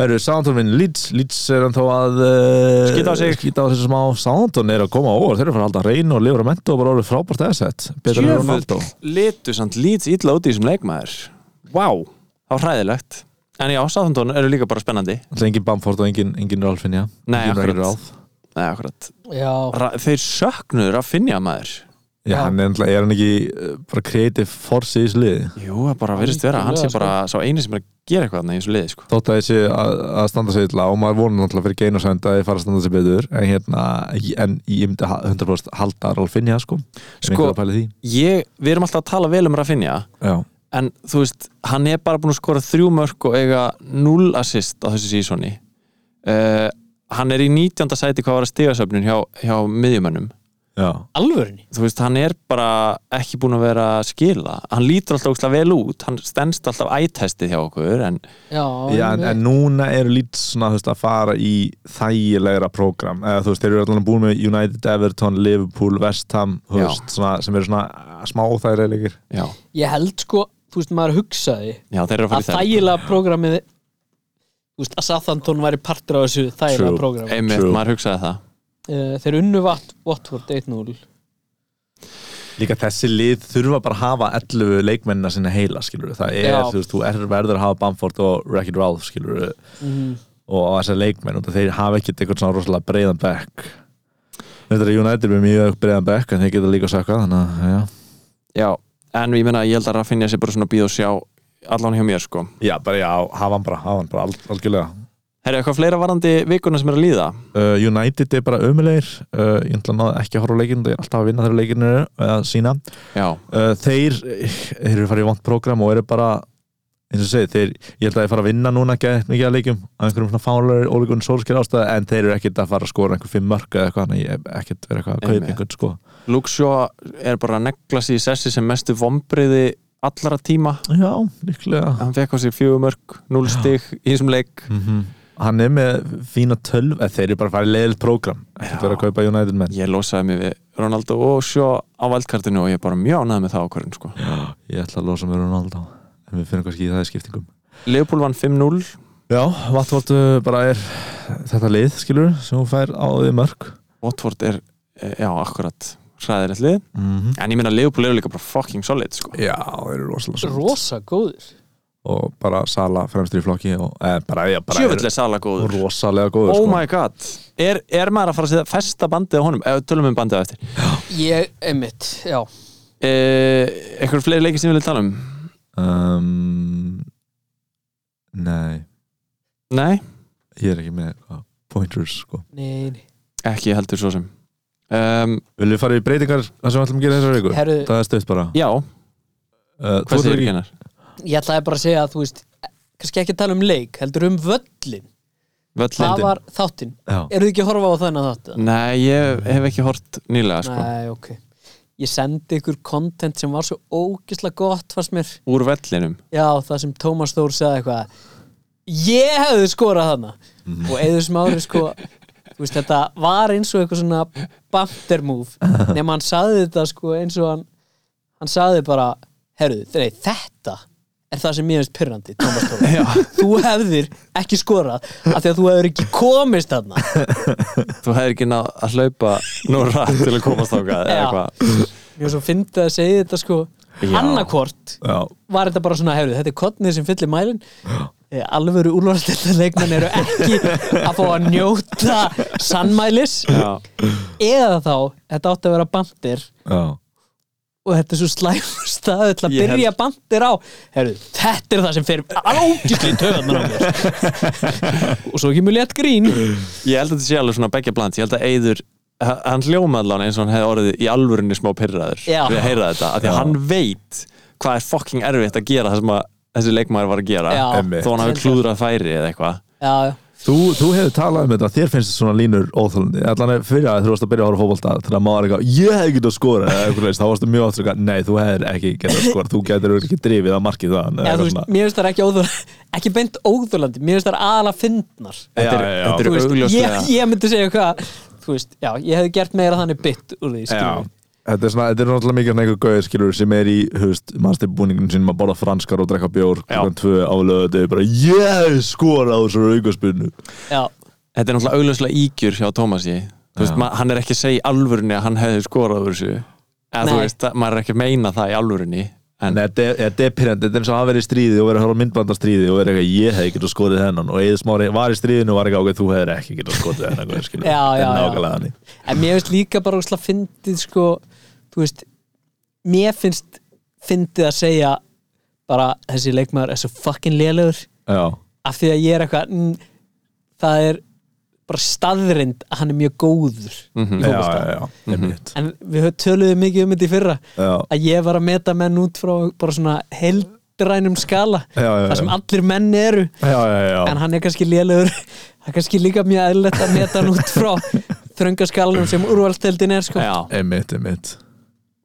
Speaker 3: Herru, Soundon vinn Leeds Leeds er hann þá að uh,
Speaker 4: Skýta á sig.
Speaker 3: Skýta á sig smá Soundon er að koma over Þeir eru að fara að halda reynu og lifra mentu og bara orðið frábært eðsett Betur en Ronaldo
Speaker 4: litu samt lít ítla út í þessum leikmaður Vá, það var hræðilegt En já, Southampton eru líka bara spennandi
Speaker 3: Það er engin Bamford og engin, engin Ralf Finja
Speaker 4: Nei,
Speaker 3: Engin
Speaker 4: akkurat.
Speaker 3: Ralf.
Speaker 4: Nei, akkurat
Speaker 2: Já,
Speaker 4: Ra Þeir söknuður að finja maður
Speaker 3: Já,
Speaker 2: Já.
Speaker 3: hann er, náttúrulega- er hann ekki uh, bara creative force í þessu liði
Speaker 4: Jú, það bara virðist vera, hann sé
Speaker 2: Algjörlega,
Speaker 4: bara sá eini sem er að gera eitthvað þarna í þessu liði sko.
Speaker 3: Þótt að þessi að, að standa sig illa og maður vonur náttúrulega fyrir geinu sænd að þið fara að standa sig betur en hérna, en ég myndi ha- 100% halda Ralf Finja sko Ef
Speaker 4: Sko-
Speaker 3: einhver er að pæla í því.
Speaker 4: Ég, við erum alltaf að tala vel um Rafinha
Speaker 3: Já,
Speaker 4: en þú veist, hann er bara búin að skora þrjú mörk og eiga 0 assist á þessu sísoni uh, Hann er í 19. sæti hvað var að stigasöfnun hjá, hjá miðjumönnum
Speaker 3: já,
Speaker 2: alvörinni
Speaker 4: þú veist, hann er bara ekki búin að vera að skila hann lítur alltaf ógslag vel út hann stendst alltaf ættestið hjá okkur en
Speaker 2: Já,
Speaker 3: já en, en núna eru lítið svona þú veist, að fara í þægilegra prógram eða þú veist, þeir eru allan búin með United, Everton, Liverpool, West Ham þú
Speaker 4: Já.
Speaker 3: veist, svona, sem eru svona smá óþægilegir
Speaker 4: já,
Speaker 2: Ég held sko, þú veist, maður hugsaði
Speaker 4: já þeir eru að
Speaker 2: að
Speaker 4: fara í
Speaker 2: þægilega prógramið Þú veist, að Southampton væri partur á þessu þægilega
Speaker 3: True.
Speaker 2: prógrami
Speaker 4: þær einmitt,
Speaker 3: True.
Speaker 4: maður hugsaði það
Speaker 2: uh, Þeir unnu vat, Watford 1-0
Speaker 3: Líka þessi lið þurfa bara að hafa 11 leikmennina sinna heila, skilur það er,
Speaker 2: Já.
Speaker 3: þú veist, þú er, verður að hafa Bamford og Wreck-It Ralph, skilur
Speaker 2: Mhm.
Speaker 3: og á þessar leikmenn, og þeir hafa ekkert eitthvað svona rosalega breiðan bekk Þetta er United með mjög breiðan bekk en þeir geta líka að sökka, þannig að já.
Speaker 4: já, en ég meina, ég held að Raffinja sé bara svona býð og sjá allan hjá mér sko
Speaker 3: já, bara já, hafa hann bara, hafa hann bara al algjörlega
Speaker 4: Herri, eitthvað fleira varandi vikuna sem er að líða
Speaker 3: uh, United er bara ömulegir uh, ég ætla að náði ekki að horfa á leikinu þeir eru alltaf að vinna þeirra leikinu eða sína
Speaker 4: já,
Speaker 3: uh, þeir, þeir eru farið í vant program og eru bara eins og segið, þeir, ég held að þeir fara að vinna núna ekki mikið að leikjum að einhverjum svona fánlegar ólíkun sólskir ástæða en þeir eru ekkert að fara að skora einhver fimm mörg eða eitthvað, þannig að ég hef ekkert verið eitthvað að kaupa
Speaker 4: Einmitt.
Speaker 3: einhvern sko
Speaker 4: Luxjó er bara að negla sig í sessi sem mestu vombriði allara tíma
Speaker 3: já, líklega
Speaker 4: hann fekk á sig fjögur mörk, 0 stig í þessum leik
Speaker 3: Mhm. hann er með fína tölv eða þeir eru bara að fara í leiðilt program ekkert verið að kaupa United menn
Speaker 4: ég losaði mig við Ronaldo og sjó á valdkartinu og ég er bara mjög ánæði með það ákvörðin sko.
Speaker 3: ég ætla að losa mér Ronaldo en við finnum kannski í það í skiptingum
Speaker 4: Leopold vann 5-0
Speaker 3: já, Vatvortu bara er þetta lið, skilur, sem hún fær á því mörg
Speaker 4: Watford er, eh, já, akkurat hræðilegt lið,
Speaker 3: Mhm.
Speaker 4: en ég meina Leopold eru líka bara fucking solid, sko
Speaker 3: já, þeir eru rosalega solid.
Speaker 2: Rosa góður
Speaker 3: og bara Sala fremstur í flokki og eh, bara, já, bara
Speaker 4: Sjöfull er Sala
Speaker 3: er
Speaker 4: góður
Speaker 3: rosalega góður sko.
Speaker 4: Oh my god Er, er maður að fara að setja festa bandið á honum Ef við tölum um bandið á eftir
Speaker 2: Ég, einmitt, já
Speaker 4: e, Eitthvað fleiri leikir sem við viljum tala um
Speaker 3: um, Nei,
Speaker 4: Nei,
Speaker 3: ég er ekki með eitthvað pointers sko.
Speaker 2: Nei, nei
Speaker 4: ekki heldur svo sem um,
Speaker 3: Viljum við fara í breytingar það sem við ætlum að gera þessar viku?
Speaker 2: Herru-
Speaker 3: Það er stöðt bara
Speaker 4: Já,
Speaker 3: uh,
Speaker 4: hvað segir ekki hennar?
Speaker 2: Ég ætlaði bara að segja að þú veist kannski ekki að tala um leik, heldur um völlin Það
Speaker 4: Völlin
Speaker 2: var þáttinn
Speaker 3: Já,
Speaker 2: Eru þið ekki að horfa á þennan þátt? eða?
Speaker 4: Nei, ég hef ekki hort nýlega sko.
Speaker 2: Nei, ok Ég sendi ykkur content sem var svo ógislega gott fannst mér
Speaker 4: Úr vellinum
Speaker 2: Já, það sem Tómas Þór sagði eitthvað Ég hefði skorað þarna
Speaker 4: Mhm.
Speaker 2: Og eður smári sko þú veist, Þetta var eins og eitthvað svona Bumper move Nefn hann sagði þetta sko eins og hann Hann sagði bara, herruðu, nei, þetta Er það sem ég hefðist pyrrandi Tómas Þór Þú hefðir ekki skorað af Því að þú hefðir ekki komist þarna
Speaker 4: Þú hefðir ekki náð að hlaupa nú rætt til að komast ákað
Speaker 2: Já. Ég var svo fyndið að segja þetta sko
Speaker 4: Já.
Speaker 2: Annarkvort
Speaker 3: já,
Speaker 2: var þetta bara svona hefðu, þetta er kottnið sem fyllir mælin Eh, alvöru úlvarsleita leikmenn eru ekki að fá að njóta sannmælis
Speaker 4: Já.
Speaker 2: eða þá, þetta átti að vera bandir
Speaker 3: já
Speaker 2: og þetta er svo slæmur staðu til að
Speaker 4: Ég
Speaker 2: byrja bandir á Herru, þetta er það sem fyrir ágæsli töðanar á mér og svo kemur létt grín
Speaker 4: Ég held að þetta sé alveg svona begja bland Ég held að Eyður, hann hljóma allan eins og hann hefði orðið í alvörinni smá pyrraður
Speaker 2: Já.
Speaker 4: við að heyra þetta, af því að hann veit hvað er fucking erfitt að gera það sem að þessi leikmaður var að gera
Speaker 2: Já.
Speaker 3: Einmitt.
Speaker 4: þó hann hafi klúðrað færi eða eitthvað
Speaker 2: já, já,
Speaker 3: Þú, þú hefur talað um þetta, þér finnst svona línur óþálandi, allan er fyrir að þú varst að byrja að horfa á fótbolta þegar maður er eitthvað, ég hef ekki að skora eða eitthvað leist, þá varstu mjög aftur eitthvað, nei, þú hefur ekki getað að skora, þú getur ekki drifið að markið það
Speaker 2: já þú veist, mér finnst það ekki óþur ekki beint óþurlandi, mér finnst það aðalega fyndnar
Speaker 4: Þetta er,
Speaker 3: Já, já, já.
Speaker 4: þetta
Speaker 2: Þú
Speaker 4: er
Speaker 2: veist, ég,
Speaker 4: augljóslega
Speaker 2: ég myndi segja hvað þú veist, já, ég hefði gert meira þannig bytt úr því,
Speaker 3: Já,
Speaker 2: skiljum
Speaker 3: þetta er, svona, þetta er náttúrulega mikið svona einhver gauð skilur sem er í, höfst, mannstilbúningun sínum að borða franskar og drekka bjór klukkan tvö álöðu, þetta er bara, ég yes, skora á þessu aukaspunnu
Speaker 2: já,
Speaker 4: Þetta er náttúrulega augljóslega ígjur hjá Tómasi Þú veist, ma- hann er ekki að segja í alvörinni að hann hefði skorað úr þessu eða þú
Speaker 2: Nei.
Speaker 4: veist, að- maður er ekki að meina það í alvörinni en
Speaker 3: Nei, þetta er- þetta er pyrrandi, þetta er eins og að vera í stríði og vera að horfa myndbanda stríði og vera eitthvað, ég hef ekki skorið hennan og eða smári var í stríðinu og var eitthvað, ok, þú hefur ekki getað skorið hennan gauð, skilur,
Speaker 2: Já, já,
Speaker 3: þetta er
Speaker 2: já.
Speaker 3: nákvæmlega þannig
Speaker 2: en mér finnst líka bara úrslega fyndið sko, þú veist mér finnst fyndið að segja bara þessi leikmaður er svo fucking lélegur
Speaker 3: Já,
Speaker 2: af því að ég er eitthvað mm, það er bara staðrind að hann er mjög góður í
Speaker 4: Mhm.
Speaker 3: já,
Speaker 2: fótbolta.
Speaker 3: já, já, einmitt.
Speaker 2: en við höfum töluðið mikið um þetta í fyrra
Speaker 3: Já.
Speaker 2: að ég var að meta menn út frá bara svona heldrænum skala
Speaker 3: Já, já, já.
Speaker 2: þar sem allir menn eru
Speaker 3: já, já, já,
Speaker 2: en hann er kannski lélegur það er kannski líka mjög eðlilegt að meta hann út frá þröngaskalunum sem úrvalsteldin er sko.
Speaker 4: já,
Speaker 3: einmitt, einmitt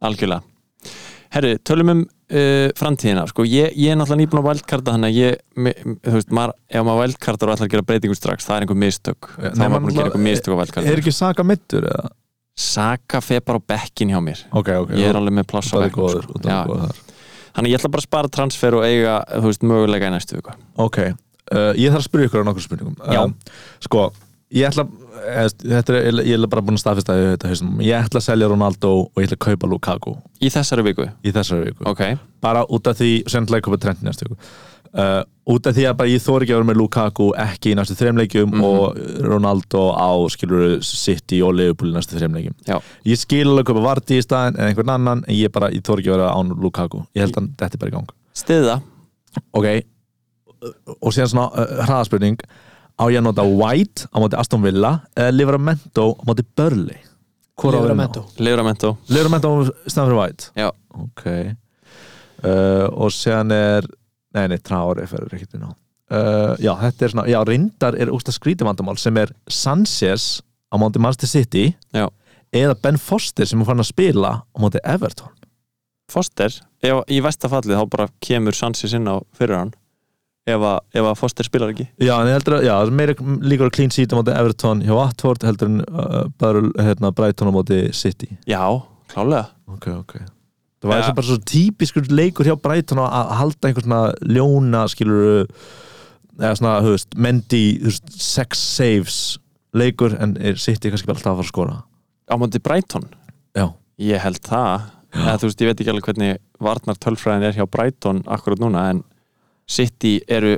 Speaker 4: algjörlega Herru, tölum um uh, framtíðina sko. ég, ég er náttúrulega nýbúin að vældkarta þannig að ég, mi- m- þú veist, maður, ef maður vældkartar og ætlar að gera breytingum strax, það er einhver mistök þá er maður búin að gera einhver mistök á
Speaker 3: Er
Speaker 4: vældkartar
Speaker 3: ekki saka mittur eða?
Speaker 4: Saka fer bara á bekkin hjá mér
Speaker 3: Ok, ok,
Speaker 4: ég er alveg með pláss á
Speaker 3: það er
Speaker 4: bekkin
Speaker 3: góður,
Speaker 4: sko.
Speaker 3: það
Speaker 4: Já.
Speaker 3: er góður þar
Speaker 4: þannig að ég ætla bara að spara transfer og eiga þú veist, mögulega í næstu viku
Speaker 3: Ok, uh, ég þarf að spyrja ykkur á nokkur spurningum
Speaker 4: Já.
Speaker 3: Um, Sko, ég ætla eh, þetta er, ég ætla bara búin að staðfesta þetta hausnum, ég ætla að selja Ronaldo og ég ætla að kaupa Lukaku
Speaker 4: í þessari viku,
Speaker 3: í þessari viku
Speaker 4: ok
Speaker 3: bara út af því, sennilega kaupa Trent í næstu viku uh, út af því að bara ég þóri ekki að vera með Lukaku ekki í næstu þreimleikjum
Speaker 4: Mhm.
Speaker 3: og Ronaldo á skilur City og Liverpool í næstu þreimleikjum
Speaker 4: já.
Speaker 3: ég skil alveg að kaupa Vardy í staðin en einhvern annan, en ég bara, ég þóri ekki að vera án Lukaku, ég held að þetta er bara í gang
Speaker 4: stiða,
Speaker 3: ok og síðan svona uh, hraðaspurning á ég að nota White á móti Aston Villa eða Livramento á móti Burnley Hvor á að vera
Speaker 2: Livramento.
Speaker 3: ná?
Speaker 4: Livramento
Speaker 3: Livramento á stæðan fyrir White
Speaker 4: já,
Speaker 3: ok uh, og síðan er nei, nei, Traore ferur ekkert inn á uh, já, þetta er svona, já, reyndar er úrst að skrítið vandamál sem er Sanchez á móti Manchester City
Speaker 4: já,
Speaker 3: eða Ben Foster sem er fann að spila á móti Everton
Speaker 4: Foster ef, í vestafallið þá bara kemur Sansi sinna fyrir hann ef að, ef að Foster spilar ekki
Speaker 3: Já, en ég heldur að, já, það er meira líkur að clean sheet á móti Everton hjá Watford heldur en uh, bara, hérna, Brighton á móti City
Speaker 4: já, klálega
Speaker 3: Ok, ok Það var
Speaker 4: Ja.
Speaker 3: ja. bara svo típiskur leikur hjá Brighton að- að halda einhvern svona ljóna skilur eða svona, þú veist, Mendy þú veist, sex saves leikur en er City kannski bara alltaf að fara að skora
Speaker 4: á móti Brighton
Speaker 3: Já,
Speaker 4: ég held það Eða, þú veist, ég veit ekki alveg hvernig varnar tölfræðin er hjá Brighton akkurat núna en City eru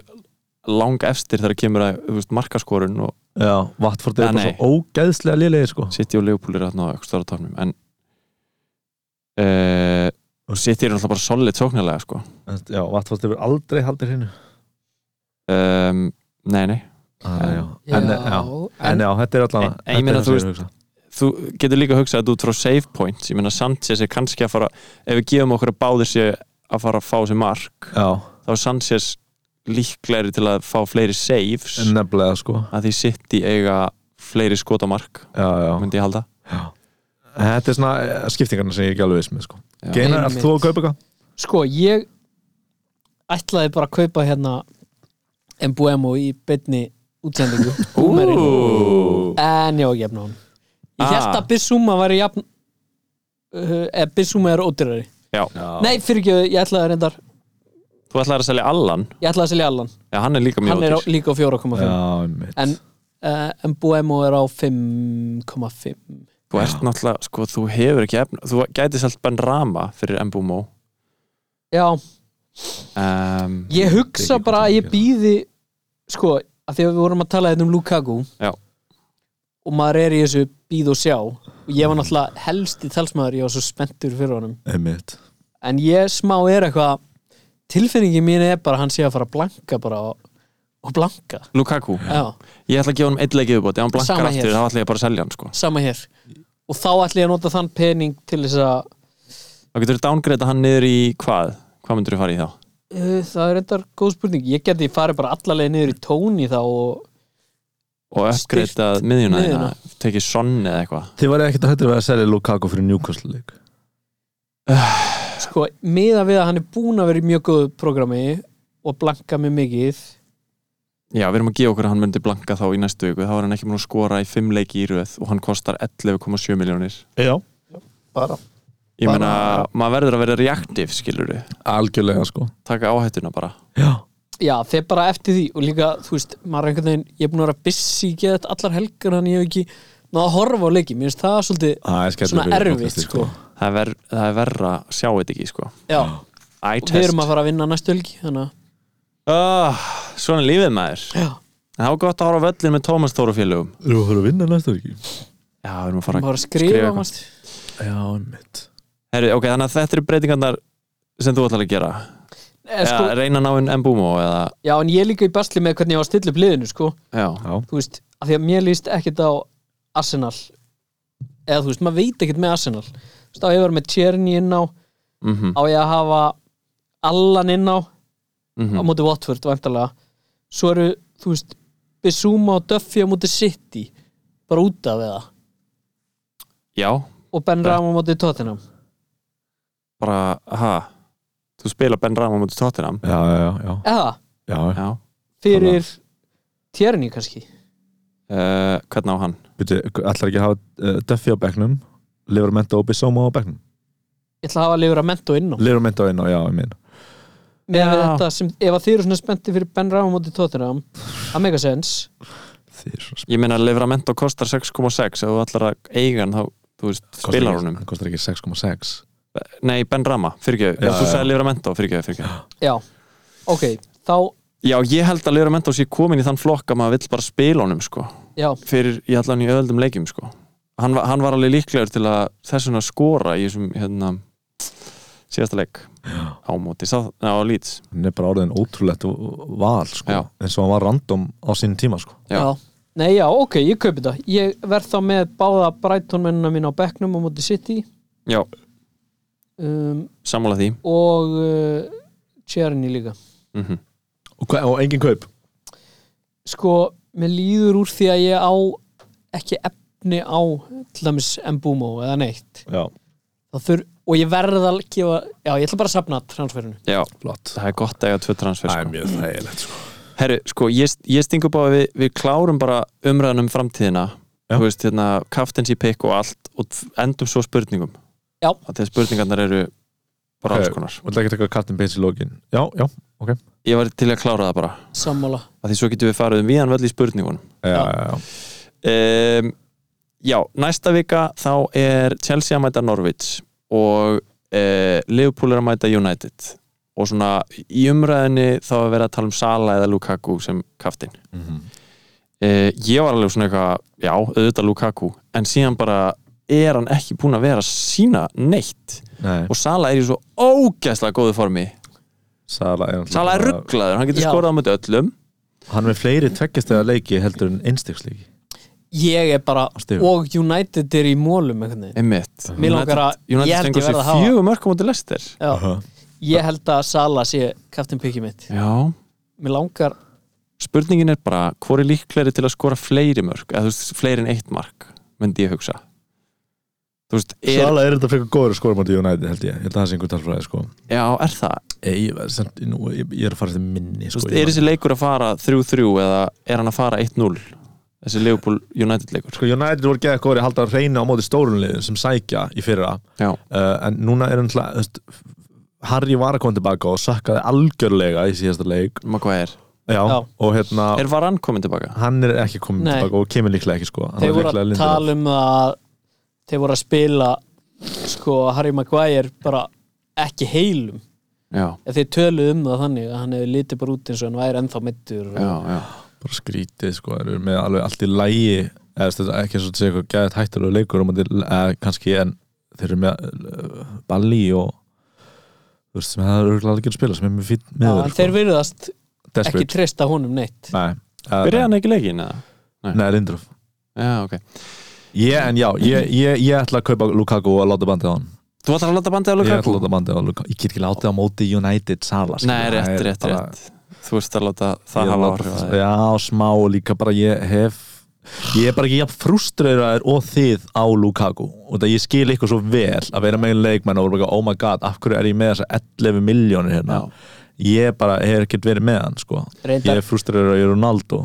Speaker 4: lang efstir þegar kemur að þú veist, markaskorun og
Speaker 3: Já, Vatford er
Speaker 4: Ja,
Speaker 3: bara
Speaker 4: nei.
Speaker 3: svo ógeðslega lélegir sko
Speaker 4: City og Liverpool eru þarna á stóra tóknum en uh, City eru alltaf bara solid sóknarlega sko.
Speaker 3: En, Já, Vatford hefur aldrei haldið hreinu
Speaker 4: um, nei, nei
Speaker 3: ah, já. En, já. en já, þetta er allan
Speaker 4: En- en ég meina, þú veist- þú getur líka að hugsa þetta út frá save points ég meina Sanchez er kannski að fara ef við gefum okkur að báðir sé að fara að fá sér mark
Speaker 3: Já,
Speaker 4: þá er Sanchez líklegri til að fá fleiri saves
Speaker 3: nefnilega sko
Speaker 4: að því City eiga fleiri skotamark
Speaker 3: Já, já
Speaker 4: myndi ég halda
Speaker 3: En Þetta er svona eh, skiptingarna sem ég er ekki alveg viss með sko
Speaker 4: Já.
Speaker 3: Geinar, ert þú að kaupa eitthvað?
Speaker 2: Sko, ég ætlaði bara að kaupa hérna Mbuemo í beinni útsendingu Búmerinn. En já, ég jafna hann Ég
Speaker 4: Ah.
Speaker 2: held að Bissúma væri jafn uh, eða Bissúma er ódýrari
Speaker 4: Já.
Speaker 3: Ah.
Speaker 2: Nei, fyrir ekki, ég ætlaði reyndar
Speaker 4: þú ætlaðir að selja Allan
Speaker 2: Ég ætlaði að selja Allan,
Speaker 4: já, hann er líka mjög
Speaker 2: hann er á,
Speaker 4: ódýr.
Speaker 2: líka á 4,5
Speaker 3: Já, mitt
Speaker 2: En uh, Mbuemo er á 5,5
Speaker 4: þú ert náttúrulega, sko, þú hefur ekki efn þú gæti selt Ben Rama fyrir Mbumo
Speaker 2: Já,
Speaker 4: um,
Speaker 2: ég hugsa
Speaker 3: ekki
Speaker 2: bara að ég
Speaker 3: hvað
Speaker 2: býði sko, að því að við vorum að tala hérna um Lukaku
Speaker 4: Já.
Speaker 2: og maður er í þessu býð og sjá og ég var náttúrulega helsti talsmaður ég var svo spenntur fyrir honum
Speaker 3: Einmitt
Speaker 2: en ég smá er eitthvað tilfinningi mín er bara að hann sé að fara að blanka bara og, og blanka
Speaker 4: Lukaku,
Speaker 2: Já,
Speaker 4: ég ætla að gefa hann einn leik yfirbót ef hann blankar
Speaker 2: Sama
Speaker 4: aftur
Speaker 2: hér.
Speaker 4: þá ætla ég bara að selja hann sko.
Speaker 2: sama hér og þá ætla ég að nota þann pening til þess að
Speaker 4: þá getur þú dángreita hann niður í hvað hvað myndur þú fara í þá?
Speaker 2: uh, það er eitthvað góð spurning ég geti farið bara allalega niður í tóni þá og
Speaker 4: og uppgreita miðjuna þína
Speaker 2: miðjuna.
Speaker 4: tekið sonn eða eitthvað
Speaker 3: Þið var ekkert að hættur við að selja Lukaku fyrir Newcastle leik
Speaker 2: sko, miða við að hann er búin að vera í mjög góðu programmi og blanka mig mikið
Speaker 4: já, við erum að gefa okkur að hann myndi blanka þá í næstu viku þá er hann ekki múin að skora í fimm leiki í röð og hann kostar 11,7 miljónir
Speaker 3: Já, bara
Speaker 4: ég meina, maður verður að vera reaktiv skilur
Speaker 3: Algjörlega sko
Speaker 4: taka áhættuna bara
Speaker 3: Já,
Speaker 2: já, þeir bara eftir því og líka, þú veist, maður er einhvern veginn ég er búin að vera busy í geðat allar helgar hann ég hef ekki náða að horfa á leiki mér finnst það svolítið
Speaker 3: það er skellur
Speaker 2: svona
Speaker 3: fyrir
Speaker 2: erfitt
Speaker 3: podcastið,
Speaker 2: sko.
Speaker 4: það er, ver, það er verra að sjá þetta ekki sko.
Speaker 2: já,
Speaker 4: I
Speaker 2: við
Speaker 4: test
Speaker 2: erum að fara að vinna næstu helgi þannig að,
Speaker 4: oh, svona er lífið maður
Speaker 2: já,
Speaker 4: En það var gott að horfa á völlin með Tómas Þóru félögum
Speaker 3: Þú erum að fara að vinna næsta viki
Speaker 4: já, við erum að fara
Speaker 2: maður
Speaker 4: að
Speaker 2: að skrifa,
Speaker 4: eitthvað.
Speaker 2: skrifa
Speaker 3: Já, mitt
Speaker 4: Herri, ok, þannig að þetta eru breytingarnar sem þú ætlar að gera
Speaker 2: eh,
Speaker 4: eða
Speaker 2: sko,
Speaker 4: reyna að ná inn Mbumo eða,
Speaker 2: já, en ég er líka í basli með hvernig ég var að stilla upp liðinu sko.
Speaker 4: já,
Speaker 2: þú veist, af því að mér líst ekkert á Arsenal eða þú veist, maður veit ekkert með Arsenal þú veist, á ég var með Tjerni inn á
Speaker 4: mhm
Speaker 2: á ég að hafa Allan inn á á
Speaker 4: Mhm.
Speaker 2: móti Watford væntalega svo eru, þú veist, Bissúma og Duffy á móti City bara út af það
Speaker 4: Já,
Speaker 2: og Ben Rama á móti Tottenham
Speaker 4: bara, ha Þú spila Ben Rama mútið Tottenham
Speaker 3: Já, já, já,
Speaker 2: eða
Speaker 3: já, já.
Speaker 4: Já,
Speaker 2: fyrir Tjerni kannski
Speaker 4: uh, hvernig á hann?
Speaker 3: Býtu, ætlar ekki að hafa uh, Duffy á bekknum Livermento og Bissoma á bekknum
Speaker 2: ég ætla að hafa lifur að mento inn á
Speaker 3: Livermento inn á, já, ég meina
Speaker 2: með
Speaker 4: Já.
Speaker 2: þetta sem, ef að þið eru svona spennti fyrir Ben Rama á móti Tottenham það mega sens
Speaker 3: Þið er svona
Speaker 4: Ég meina Livramento kostar 6,6 ef þú ætlar að eiga hann þá, þú veist,
Speaker 3: Kostar
Speaker 4: spilar
Speaker 3: ekki-
Speaker 4: honum
Speaker 3: hann kostar ekki 6,6
Speaker 4: Nei, Ben Rama, fyrirgjöf,
Speaker 3: Já,
Speaker 4: já, þú
Speaker 3: já.
Speaker 4: sagði Livramento fyrirgjöf, fyrirgjöf
Speaker 2: já, ok, þá
Speaker 4: Já, ég held að Livramento sé komin í þann flokk að maður vill bara spila honum, sko
Speaker 2: já,
Speaker 4: fyrir, ég ætla hann í öðuldum leikjum, sko Hann, var- hann var alveg líklegur til að þessuna skora í þessum, hérna síðasta leik á móti, sá, á Leeds
Speaker 3: hann er bara orðin ótrúlegt val sko,
Speaker 4: Já.
Speaker 3: eins og hann var random á sínum tíma sko.
Speaker 4: Já.
Speaker 2: Nei, já, ok, ég kaupi þetta Ég verð þá með báða brættónmennina mín á bekknum á móti City
Speaker 4: Já,
Speaker 2: um,
Speaker 4: sammála því
Speaker 2: og uh, Tjerni líka
Speaker 4: mm
Speaker 3: og, hva, og engin kaup
Speaker 2: Sko, mér líður úr því að ég á ekki efni á til dæmis Mbumo eða neitt
Speaker 3: já,
Speaker 2: Þá þurr, og ég verð að gefa já, ég ætla bara að safna transferinu
Speaker 4: Já,
Speaker 3: flott
Speaker 4: það er gott að eiga tvö transfer
Speaker 3: það
Speaker 4: sko.
Speaker 3: er mjög þægilegt sko.
Speaker 4: Herru, sko, ég, ég sting upp á að við, við klárum bara umræðan um framtíðina
Speaker 3: Já.
Speaker 4: þú veist, hérna, captaincy pick og allt og t- endum svo spurningum
Speaker 2: Já.
Speaker 4: að þegar spurningarnar eru bara
Speaker 3: Ok.
Speaker 4: alls konar
Speaker 3: og það ekki taka Captain Bates í lókin já, já, ok já,
Speaker 4: Ég var til að klára það bara
Speaker 2: sammála
Speaker 4: að því svo getum við farið um viðan völl í spurningunum
Speaker 3: já,
Speaker 2: Já.
Speaker 3: já.
Speaker 4: um, Já, næsta vika þá e, er Chelsea að mæta Norwich og uh, Liverpool er að mæta United og svona í umræðinni þá að vera að tala um Sala eða Lukaku sem kaftin mm ég var alveg svona eitthvað já, auðvitað Lukaku en síðan bara er hann ekki búin að vera að sína neitt
Speaker 3: Nei,
Speaker 4: og Sala er í svo ógæslega góðu formi
Speaker 3: Sala er,
Speaker 4: Sala er rugglaður, hann getur
Speaker 2: Já.
Speaker 4: skorað á mjög öllum
Speaker 3: Hann er með fleiri tveggjastega leiki heldur en einstegsleiki
Speaker 2: ég er bara,
Speaker 3: stigum.
Speaker 2: og United er í mólum einhvern veginn
Speaker 4: einmitt
Speaker 2: Mig langar að-
Speaker 4: United- United
Speaker 2: ég held ég
Speaker 4: stengur
Speaker 2: verð
Speaker 4: sér
Speaker 2: að hafa-
Speaker 4: fjögur mörgum áttu lestir
Speaker 2: já, ég held að Sala sé kaftin pikið mitt
Speaker 4: já,
Speaker 2: mér langar,
Speaker 4: spurningin er bara hvor er líklegri til að skora fleiri mörg eða þú veist, fleiri en eitt mark myndi ég hugsa þú veist, er,
Speaker 3: Sala er þetta frekar góður skorum á United held ég Ég held að það sé einhver talfræði sko
Speaker 4: já, er það
Speaker 3: Ei, ég, var samt- nú, ég, ég er að fara til minni
Speaker 4: þú
Speaker 3: sko
Speaker 4: veist, er þessi leikur að fara 3-3 eða er hann að fara 1-0 þessi Liverpool United leikur
Speaker 3: Sko United voru geða góður að halda að reyna á móti stórunliðin sem sækja í fyrra
Speaker 4: já,
Speaker 3: uh, en núna er hann hlað þú veist, Harry var að koma tilbaka og sakkaði algjörlega í síðasta leik
Speaker 4: Maguire
Speaker 3: Já,
Speaker 2: Já.
Speaker 3: og hérna
Speaker 4: er var hann komin tilbaka?
Speaker 3: hann er ekki komin
Speaker 2: Nei.
Speaker 3: tilbaka og kemur líklega ekki sko Hann
Speaker 2: þeir
Speaker 3: var
Speaker 2: voru
Speaker 3: líklega
Speaker 2: að
Speaker 3: Lindelof.
Speaker 2: tala um að þeir voru að spila sko Harry Maguire bara ekki heilum
Speaker 4: já,
Speaker 2: Ef þeir töluðu um það þannig að hann hefði litið bara út eins og hann væri ennþá mittur
Speaker 4: já, já
Speaker 3: bara skrítið sko, þeir eru með alveg allt í lægi eða þetta er ekki eins og þetta sé eitthvað gæðið hættur og leikur um eða kannski en þeir eru með uh, balli og þú veist sem það eru örugglega alveg að spila sem er með fýtt
Speaker 2: Já,
Speaker 3: með
Speaker 2: en þeir virðast ekki
Speaker 3: desperate
Speaker 2: treysta honum neitt
Speaker 3: Nei,
Speaker 4: byrjaði
Speaker 3: uh,
Speaker 4: hann ekki leikin eða?
Speaker 3: nei, Lindruf
Speaker 4: já, ok
Speaker 3: Ég, en já, ég, ég, ég ætla að kaupa Lukaku og láta bandið á hann
Speaker 4: þú ætlar að láta bandið á
Speaker 3: Ég ætla
Speaker 4: Lukaku?
Speaker 3: að láta bandið á Lukaku Ég get ekki látið á móti United Sala skilur.
Speaker 4: nei, rétt,
Speaker 3: Það er
Speaker 4: rétt,
Speaker 3: bara-
Speaker 4: rétt þú veist að láta það
Speaker 3: Ég
Speaker 4: hafa
Speaker 3: láta-
Speaker 4: áhrif á þig.
Speaker 3: Já, smá og líka bara ég hef Ég er bara ekki jafn frustreraður og þið á Lukaku og það ég skil ykkur svo vel að vera með einn leikmenn og vera bara, oh my god, af hverju er ég með þessa 11 miljónir hérna
Speaker 4: Já.
Speaker 3: Ég bara hef ekkert verið með hann, sko Ég
Speaker 2: reyndar
Speaker 3: er frustreraður í Ronaldo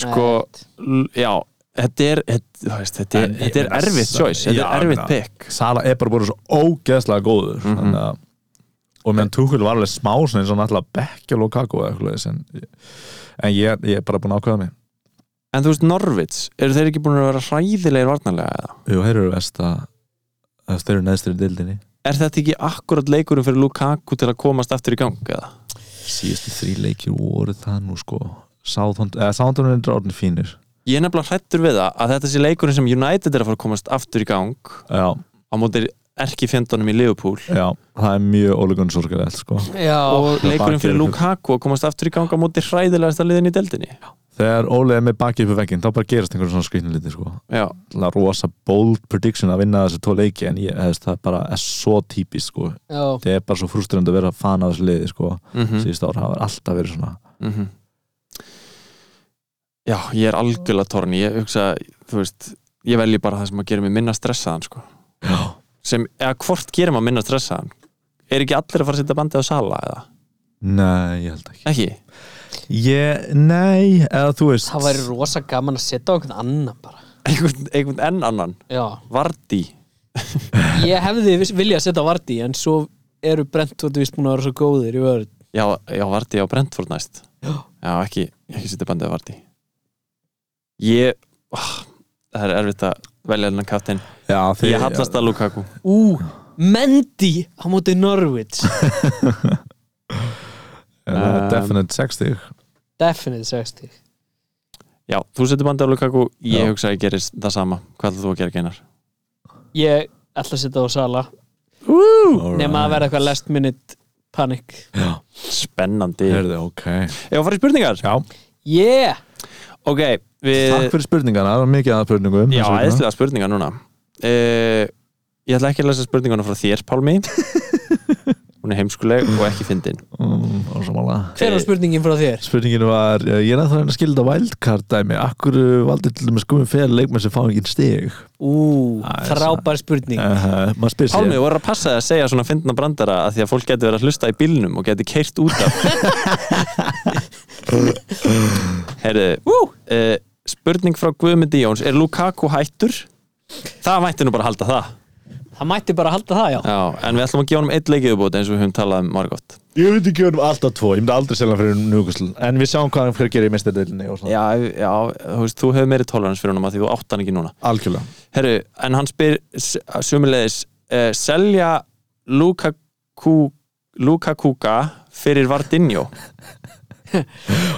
Speaker 4: sko, l- já þetta er, þetta, þú veist, þetta er,
Speaker 3: En ég
Speaker 4: þetta er
Speaker 3: meina,
Speaker 4: erfitt
Speaker 3: sa-
Speaker 4: choice, þetta
Speaker 3: já,
Speaker 4: er
Speaker 3: ég
Speaker 4: erfitt
Speaker 3: meina,
Speaker 4: pick
Speaker 3: Sala er bara búin svo ógeðslega góður
Speaker 4: Mhm.
Speaker 3: þannig að og meðan Tuchel var alveg smá svona eins og náttúrulega bekkja Lukaku eða eitthvað leis, en, en ég, ég er bara búin að ákveða mig
Speaker 4: en þú veist Norvits, eru þeir ekki búin að vera hræðilegir varnarlega eða?
Speaker 3: Jú, þeir eru vest að að þeir eru neðstir í dildinni
Speaker 4: Er þetta ekki akkurat leikurinn fyrir Lukaku til að komast aftur í gang eða?
Speaker 3: síðustu þrý leikir voru það nú sko Southampton, eða Southampton er orðin fínir
Speaker 4: Ég er nefnilega hrættur við það að þetta sé leikurinn sem United er að fara að komast aftur í gang
Speaker 3: já,
Speaker 4: á móti erki fjendunum í Liverpool
Speaker 3: já, það er mjög ólegun sorgilegt sko
Speaker 2: já,
Speaker 4: og
Speaker 3: það
Speaker 4: leikurinn
Speaker 3: bakið
Speaker 4: fyrir
Speaker 3: er-
Speaker 4: Lukaku að komast aftur í gang á móti hræðilegasta liðin í deldinni
Speaker 3: þegar Óli er með bakið upp í vegginn þá bara gerast einhverjum svona skrýtni liti sko
Speaker 4: Já,
Speaker 3: Það er rosa bold prediction að vinna þessi tvo leiki en ég, þess, það er bara er svo típist sko
Speaker 2: já,
Speaker 3: það er bara svo frustrand að vera fan af þessu liði sko
Speaker 4: mm -hmm.
Speaker 3: síðust ára hafa alltaf verið svona
Speaker 4: Mhm. Já ég er algjörlega torni ég hugsa, þú veist ég velji bara það sem að gera mig minna stressaðan sko.
Speaker 3: já,
Speaker 4: sem, eða hvort gerir maður minna stressaðan er ekki allir að fara að setja bandið á sala eða?
Speaker 3: nei, ég held ekki
Speaker 4: Ekki?
Speaker 3: ég, nei, eða þú veist
Speaker 2: það væri rosa gaman að setja á einhvern annan bara
Speaker 4: einhvern, einhvern enn annan
Speaker 2: já,
Speaker 4: Vardí
Speaker 2: ég hefði viss- viljað setja Vardí en svo eru Brentford vist búin að vera svo góðir í vörð
Speaker 4: já, já, Vardí á Brentford næst já, ekki, ekki setja bandið á Vardí ég ah, það er erfitt að velja hennan kaptinn
Speaker 3: já, þeir,
Speaker 4: ég hallast að Lukaku
Speaker 2: ú, Mendy á móti Norwich
Speaker 3: það er
Speaker 4: Um,
Speaker 3: definite 60
Speaker 2: definite 60
Speaker 4: já, þú setja bandið á Lukaku ég
Speaker 3: Já.
Speaker 4: hugsa að ég gerir það sama hvað ætlar þú að gera geinar?
Speaker 2: ég ætla að setja á Sala nema að vera eitthvað last minute panic
Speaker 4: spennandi
Speaker 3: Herði,
Speaker 4: Herðu.
Speaker 3: ok
Speaker 4: ég var að fara í spurningar
Speaker 3: Já,
Speaker 2: yeah,
Speaker 4: ok,
Speaker 3: takk
Speaker 4: við
Speaker 3: fyrir spurningana, það var mikið að spurningum
Speaker 4: já,
Speaker 3: þessa vikuna.
Speaker 4: eðslega spurningar núna uh, ég ætla ekki að lesa spurninguna frá þér Pálmi hún er heimskuleg og ekki fyndin
Speaker 3: Mm, ósammála.
Speaker 2: hver var spurningin frá þér?
Speaker 3: Spurningin var, eh, ég er að það að skilda wildcard dæmi, akkur valdið til með skumum fyrir leikmenn sem fá ekki stig
Speaker 2: ú,
Speaker 3: Það er
Speaker 2: frábær spurning
Speaker 3: uh, maður spyr sér
Speaker 4: Pálmi, þú voru að passa þig að segja svona fyndna brandara að því að fólk getur verið að hlusta í bílnum og getur keirt út af Herðu, uh, spurning frá Guðmundi Jóns er Lukaku hættur? Það mætti nú bara að halda það
Speaker 2: það mætti bara halda það, já
Speaker 4: Já, en við ætlum að gefa honum eitt leikiðubót eins og við höfum talað um margótt
Speaker 3: Ég veit ekki um alltaf tvo, ég myndi aldrei selja hann fyrir núkusl En við sjáum hvað hann fyrir gerir í mestardeilinni og svona
Speaker 4: Já, já, þú veist, þú hefur meiri tolerans fyrir honum að því þú átt hann ekki núna
Speaker 3: Algjörlega
Speaker 4: Herru, en hann spyr s- sömuleiðis uh, selja eh, Lukaku Luka Kuka fyrir Vardinjó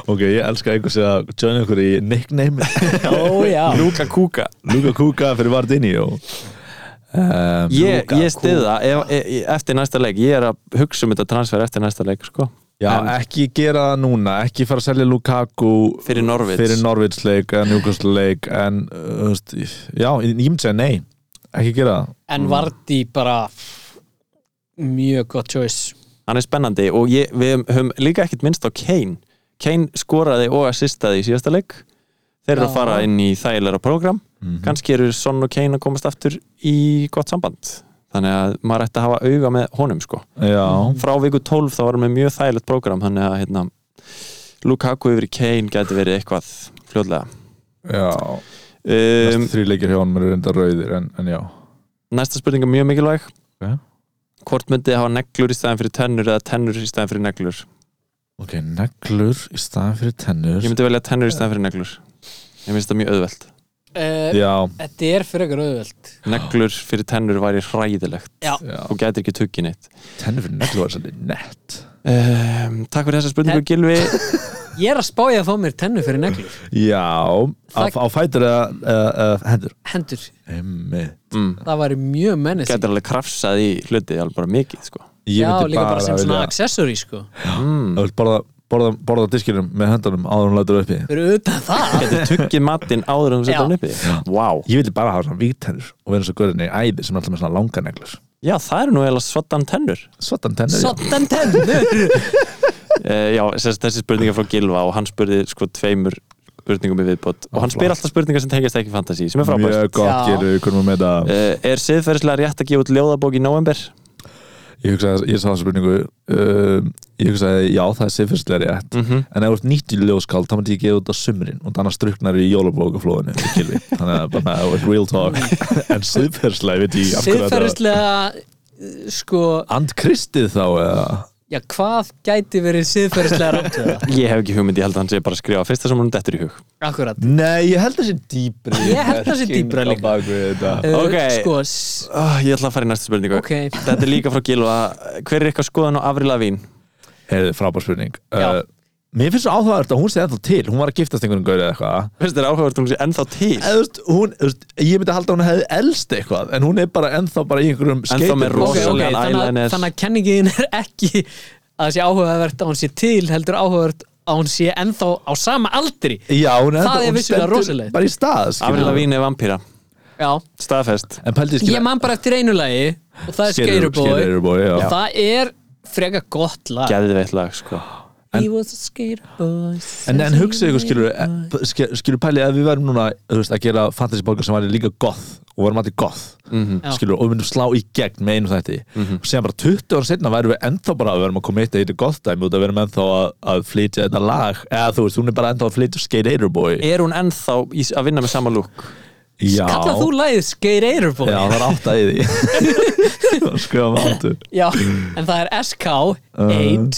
Speaker 3: ok, ég elska einhvers að tjóna ykkur í nickname
Speaker 2: Ó já
Speaker 4: Luka Kuka
Speaker 3: Luka Kuka fyrir Vardinjó um,
Speaker 4: Ég,
Speaker 3: Luka
Speaker 4: ég stiða ef, e, e- eftir næsta leik, ég er að hugsa um þetta transfer eftir næsta leik sko.
Speaker 3: Já,
Speaker 4: En-
Speaker 3: ekki gera það núna, ekki fara að selja Lukaku
Speaker 4: Fyrir Norwich.
Speaker 3: fyrir Norvits leik eða Newcastle leik en, uh, þú veist, já, ég ég myndi segja nei ekki gera það
Speaker 2: En Vardí bara mjög gott choice
Speaker 4: hann er spennandi og ég, við höfum líka ekkert minnst á Kane Kane skoraði og assistaði í síðasta leik þeir eru
Speaker 2: Já.
Speaker 4: að fara inn í þægilega program
Speaker 3: Mhm.
Speaker 4: Mm. kannski eru Son og Kane að komast aftur í gott samband þannig að maður ætti að hafa auga með honum sko.
Speaker 3: Já,
Speaker 4: frá viku 12 þá varum við mjög þægilegt program þannig að hérna, Lukaku yfir í Kane gæti verið eitthvað fljóðlega
Speaker 3: já um,
Speaker 4: um,
Speaker 3: Þrý leikir hjá honum eru enda rauðir en, en já
Speaker 4: næsta spurning er mjög mikilvæg
Speaker 3: Ok.
Speaker 4: hvort myndið þið hafa neglur í staðin fyrir tennur eða tennur í staðin fyrir neglur
Speaker 3: Ok, neglur í staðan fyrir tennur
Speaker 4: ég myndi velja tennur í staðin fyrir neglur ég finnst það mjög auðvelt
Speaker 2: uh,
Speaker 3: Já,
Speaker 2: Þetta er fyrir ykkur auðvöld
Speaker 4: neglur fyrir tennur væri hræðilegt
Speaker 2: Já.
Speaker 3: já,
Speaker 4: og gæti ekki tuggin eitt
Speaker 3: tennur fyrir neglur var svolítið nett
Speaker 4: um, takk fyrir þessa spurningu Gilvi
Speaker 2: Ég er að spája að fá mér tennu fyrir neglur
Speaker 3: Já, á,
Speaker 2: Það-
Speaker 3: á fætur eða eða- eða hendur
Speaker 2: Hendur,
Speaker 3: Emmi
Speaker 4: mm,
Speaker 2: það væri mjög mennis
Speaker 4: gæti alveg krafsað í hluti alveg bara mikið sko.
Speaker 3: Ég
Speaker 2: Já,
Speaker 3: myndi
Speaker 2: líka bara sem svona
Speaker 3: vilja-
Speaker 2: accessory sko
Speaker 4: mm,
Speaker 3: Ég vil borða, borða, borða diskinum með hendunum áður en hún lætur uppi
Speaker 2: Fyrir utan það
Speaker 4: gæti tuggið matinn áður en þú setja
Speaker 2: Já.
Speaker 4: hann uppi wow.
Speaker 3: Ég vildi bara hafa svona víktennur og vera eins og góðinni í æði sem er alltaf með svona langa neglur
Speaker 4: já það er nú eiginlega svottan tennur
Speaker 3: Svartan tennur, já
Speaker 2: Sottan tennur
Speaker 4: uh, já þess, þessi spurning er frá Gilva og hann spurði sko tveimur spurningum í viðbót og hann spyr alltaf spurningar sem tengjast ekki fantasi sem er frábært
Speaker 3: Mjög gott
Speaker 2: Já.
Speaker 3: gerir, við kunum að með það
Speaker 4: Uh, er siðferðislega rétt að gefa út ljóðabók í november?
Speaker 3: Ég hugsaði, ég sá það spurningu um, Ég hugsaði, já það er siðfyrstilega rétt En ef þú ert nýtt í ljóskald, þá myndi ég gefa út á sumrin og þannig að struknar í jólabókaflóðinu Gylfi. Þannig að bara það er real talk En siðfyrstilega, veit ég af hverju þetta-
Speaker 2: Siðferðislega uh, sko,
Speaker 3: Andkristið þá eða
Speaker 2: já hvað gæti verið siðferðislega rátt við það?
Speaker 4: Ég hef ekki hugmynd, ég held að hann sé bara að skrifa fyrsta sem hann dettur í hug
Speaker 2: Akkurat
Speaker 3: Nei, ég held það sé dýbri
Speaker 2: Ég held það sé dýpra líka.
Speaker 3: líka
Speaker 2: Uh,
Speaker 4: Ok.
Speaker 2: Sko, s-
Speaker 4: oh, Ég ætla að fara í næstu spurningu
Speaker 2: ok
Speaker 4: Þetta er líka frá Gilva Hver er eitthvað skoðan á Avril Lavín?
Speaker 3: Heyrðu, frábær spurning
Speaker 2: Já.
Speaker 3: uh, Mér finnst svo áhugavert að hún sé ennþá til Hún var að giftast einhvern gaur eða eitthvað
Speaker 4: Finnst þér áhugavert hún sé ennþá til?
Speaker 3: Eða, þú veist, hún, þú veist, Ég myndi að halda að hún hefði elst eitthvað En hún er bara ennþá bara í einhverjum
Speaker 4: Ennþá með
Speaker 2: Ok,
Speaker 3: skeitum.
Speaker 2: ok,
Speaker 4: Rosalind
Speaker 2: þannig að,
Speaker 4: Eyeliner.
Speaker 2: þannig að kenningin er ekki að það sé áhugavert að hún sé til heldur áhugavert að hún sé ennþá á sama aldri
Speaker 3: Já, hún er
Speaker 2: Það er
Speaker 3: ennþá, hún
Speaker 2: vissulega
Speaker 3: stendur
Speaker 2: rosalegt.
Speaker 3: Bara í stað skilur
Speaker 4: Avril
Speaker 3: við.
Speaker 4: Lavín er vampýra
Speaker 2: Já,
Speaker 4: Staðfest
Speaker 3: En pældi
Speaker 2: ég man bara eftir einu lagi og það er Skeirubói
Speaker 3: Skeirubói, já
Speaker 2: og það er freka gott lag
Speaker 4: Gæðveitt lag sko
Speaker 2: He was a Skeirubói
Speaker 3: En, en hugsaðu ykkur eh, skilur, skilur, skilur pæli að við værum núna þú veist, að gera fantasy bóka sem væri líka goth og værum allir goth
Speaker 2: Já.
Speaker 3: skilur, og við myndum slá í gegn með einu þætti og séðan bara 20 ára setna værum við ennþá bara við værum að koma eitt eitt goth dæmi út að við erum ennþá að, að flytja þetta lag eða þú veist, hún er bara ennþá að flytja Skate Airboy
Speaker 4: Er hún ennþá í, að vinna með sama lúk?
Speaker 3: Já,
Speaker 2: Kallað þú lagið Skeirubói
Speaker 3: já
Speaker 2: já.
Speaker 3: það er átt að í því Það skrifa með áttu
Speaker 2: en það er
Speaker 4: Uh,
Speaker 2: SK8
Speaker 4: E
Speaker 3: E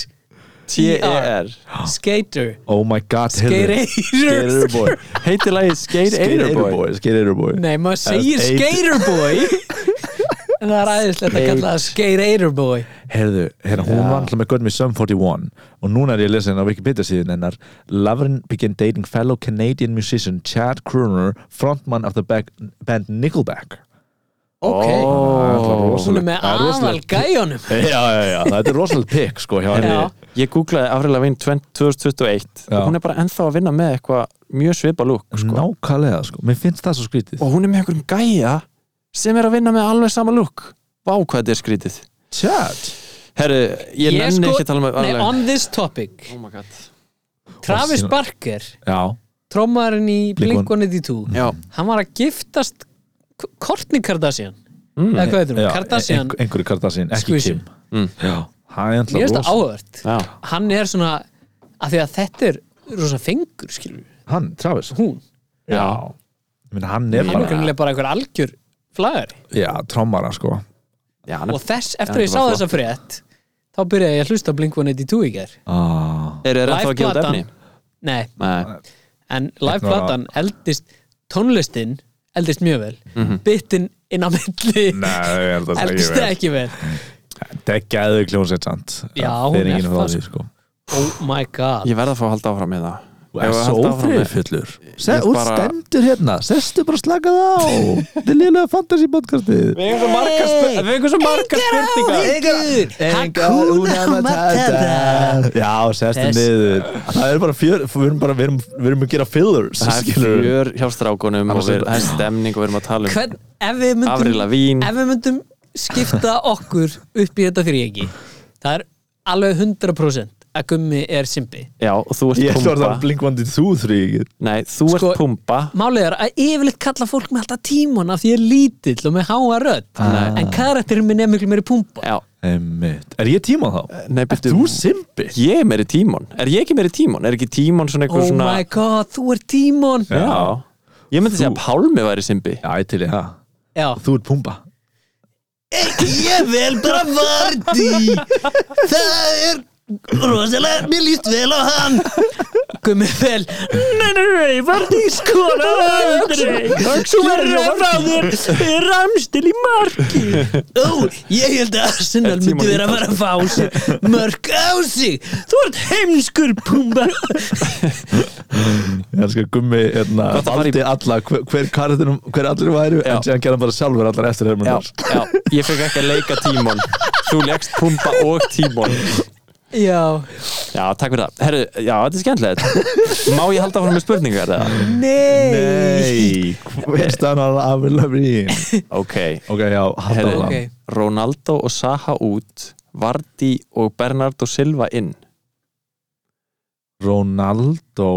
Speaker 4: T-E-R
Speaker 2: Skater
Speaker 3: Oh my god, heyrðu. Skate
Speaker 2: Skeirubói
Speaker 3: Airboy
Speaker 4: Heitir lagið Skate
Speaker 3: Skate
Speaker 4: Airboy
Speaker 3: Airboy Skate Airboy
Speaker 2: Nei, maður segir
Speaker 3: eight.
Speaker 2: Skeirubói En það er æðislegt að kalla það Skeirubói
Speaker 3: Herðu, hérna, hún var alltaf með Got Me Some 41 og núna er ég að lesa henni á Wikipedia síðan hennar Lavrin began dating fellow Canadian musician Chad Kroener frontman of the back, band Nickelback
Speaker 2: Ok,
Speaker 3: oh,
Speaker 2: hún er með aðal gæjónum
Speaker 3: Já, já, já, þetta er rosalega pikk sko hjá henni
Speaker 2: Já.
Speaker 4: Ég googlaði Avril Lavín 2021
Speaker 3: Já.
Speaker 4: og hún er bara ennþá að vinna með eitthvað mjög svipa lúk sko.
Speaker 3: Nákvæmlega sko, mér finnst það svo skrítið
Speaker 4: og hún er með einhverjum gæja sem er að vinna með alveg sama lúk Vá hvað þetta er skrítið
Speaker 3: Chad
Speaker 4: Herru, ég, nenni ekki að tala um með
Speaker 2: sko- Nei, on this topic
Speaker 4: oh my god
Speaker 2: Travis
Speaker 3: Og síðan-
Speaker 2: Barker,
Speaker 3: Já,
Speaker 2: trómaðurinn í
Speaker 3: Blink-
Speaker 2: Blink-182
Speaker 4: Já,
Speaker 2: Hann var að giftast K- Kourtney Kardashian
Speaker 4: Mm.
Speaker 2: Eða hvað heitir hún?
Speaker 3: já
Speaker 2: Kardashian
Speaker 4: Eh,
Speaker 3: einhver- Einhverju Kardashian, ekki
Speaker 2: Squeezy.
Speaker 3: Kim Já,
Speaker 2: Mér
Speaker 3: hann er
Speaker 2: finnst
Speaker 3: alltaf
Speaker 2: það
Speaker 3: rosalega
Speaker 2: áhugavert
Speaker 4: já,
Speaker 2: Hann er svona, af því að þetta er rosa fengur, skilur við.
Speaker 3: Hann, Travis
Speaker 2: Hún,
Speaker 4: já.
Speaker 3: Ég meina, Hann er
Speaker 2: hann er
Speaker 3: bara,
Speaker 2: greinilega bara einhver algjör flagari
Speaker 3: já, trommara sko
Speaker 4: já hann
Speaker 2: og
Speaker 4: er,
Speaker 2: þess, eftir
Speaker 4: Já,
Speaker 2: að ég sá
Speaker 4: þetta var
Speaker 2: þessa frétt þá byrjaði ég að hlusta á Blink-182 í ger
Speaker 3: ah.
Speaker 4: er það að gefa út
Speaker 2: Live-platan.
Speaker 4: efni?
Speaker 2: nei,
Speaker 4: Nei,
Speaker 2: en
Speaker 3: Hérna var
Speaker 2: live-platan eldist tónlistin
Speaker 4: Mhm.
Speaker 2: eldist mjög vel bitinn inn á milli
Speaker 3: Nei, ég held að það sé
Speaker 2: eldist
Speaker 3: ekki vel
Speaker 2: ekki vel
Speaker 3: Þetta er gæðu kljónsett samt
Speaker 2: Já,
Speaker 3: Það
Speaker 2: hún
Speaker 3: fer
Speaker 2: er
Speaker 3: enginn frá
Speaker 2: það,
Speaker 3: því, sko.
Speaker 2: oh my god
Speaker 4: Ég verð að fá að halda áfram með það
Speaker 3: Þú er svo friðfullur
Speaker 4: Ég
Speaker 3: Úr
Speaker 4: bara-
Speaker 3: stendur hérna, sestu bara að slaka það á Þetta er liðlega fantasy podcastið
Speaker 4: Við eigum svo margar spur- við eigum svo margar spurningar
Speaker 2: Engar
Speaker 3: Hakuna Matata Já, sestu
Speaker 2: Þess-
Speaker 3: niður Það er bara fjör, við erum bara, við erum, við erum að gera fillers
Speaker 4: Það er
Speaker 3: skilurðu.
Speaker 4: fjör hjá strákunum og við- það er stemning og við erum að tala um
Speaker 2: Hvern, ef við
Speaker 4: Avril
Speaker 2: myndum
Speaker 4: Lavín
Speaker 2: ef við myndum skipta okkur upp í þetta fyrir ekki það er alveg 100% að gummi er simpi
Speaker 4: Já, og þú
Speaker 3: Ég ætla
Speaker 4: ert
Speaker 3: að
Speaker 4: pumpa
Speaker 3: það blinkvandi þú þrý
Speaker 4: Nei, þú
Speaker 2: Sko-
Speaker 4: ert pumpa
Speaker 2: Málið er að yfirleitt kalla fólk með alltaf tímon af því ég er lítill og með háa rödd
Speaker 4: Ah.
Speaker 2: en karakterinn minn er miklu meiri pumpa
Speaker 4: Já,
Speaker 3: Einmitt, er ég tíma þá?
Speaker 4: nei,
Speaker 3: Ert
Speaker 4: byrju
Speaker 3: þú simpi?
Speaker 4: Ég er meiri tímon, er ég ekki meiri tímon? Er ekki tímon svona
Speaker 2: Oh
Speaker 4: eitthvað svona
Speaker 2: my god, þú er tímon Já,
Speaker 4: Já, ég myndi segja að Pálmi væri simbi
Speaker 3: Já, ég til ég það Þú ert pumpa
Speaker 7: Ég vel bara Vardí Það er rosalega, mér líst vel á hann
Speaker 2: gummi vel Nei, nei, nei, var því skora Þú verður að frá þér Ramstil í marki
Speaker 7: Ó, ég held að
Speaker 2: Arsenal
Speaker 4: Er
Speaker 2: myndi
Speaker 4: Tímon
Speaker 2: vera að fara að fá sér mörg á sig Þú ert heimskur pumba
Speaker 3: Ég elskar gummi, hérna,
Speaker 4: Gott að fara í-
Speaker 3: valdi alla hver, hver, karakterinn- hver allir væru
Speaker 4: Já.
Speaker 3: en síðan gerðan bara sjálfur allar eftir
Speaker 4: Já,
Speaker 3: hermundar
Speaker 4: já, ég fekk ekki að leika tímon Þú leikst pumpa og tímon
Speaker 2: Já,
Speaker 4: Já, takk fyrir það Herru, já, þetta er skemmtilegt Má ég halda frá með spurningar eða?
Speaker 2: nei
Speaker 3: Nei, hver stannar að vilja mín?
Speaker 4: Ok,
Speaker 3: Ok, já, halda
Speaker 4: Herri,
Speaker 3: áfram
Speaker 2: Ok,
Speaker 4: Ronaldo og Saha út Vardí og Bernardo Silva inn
Speaker 3: Ronaldo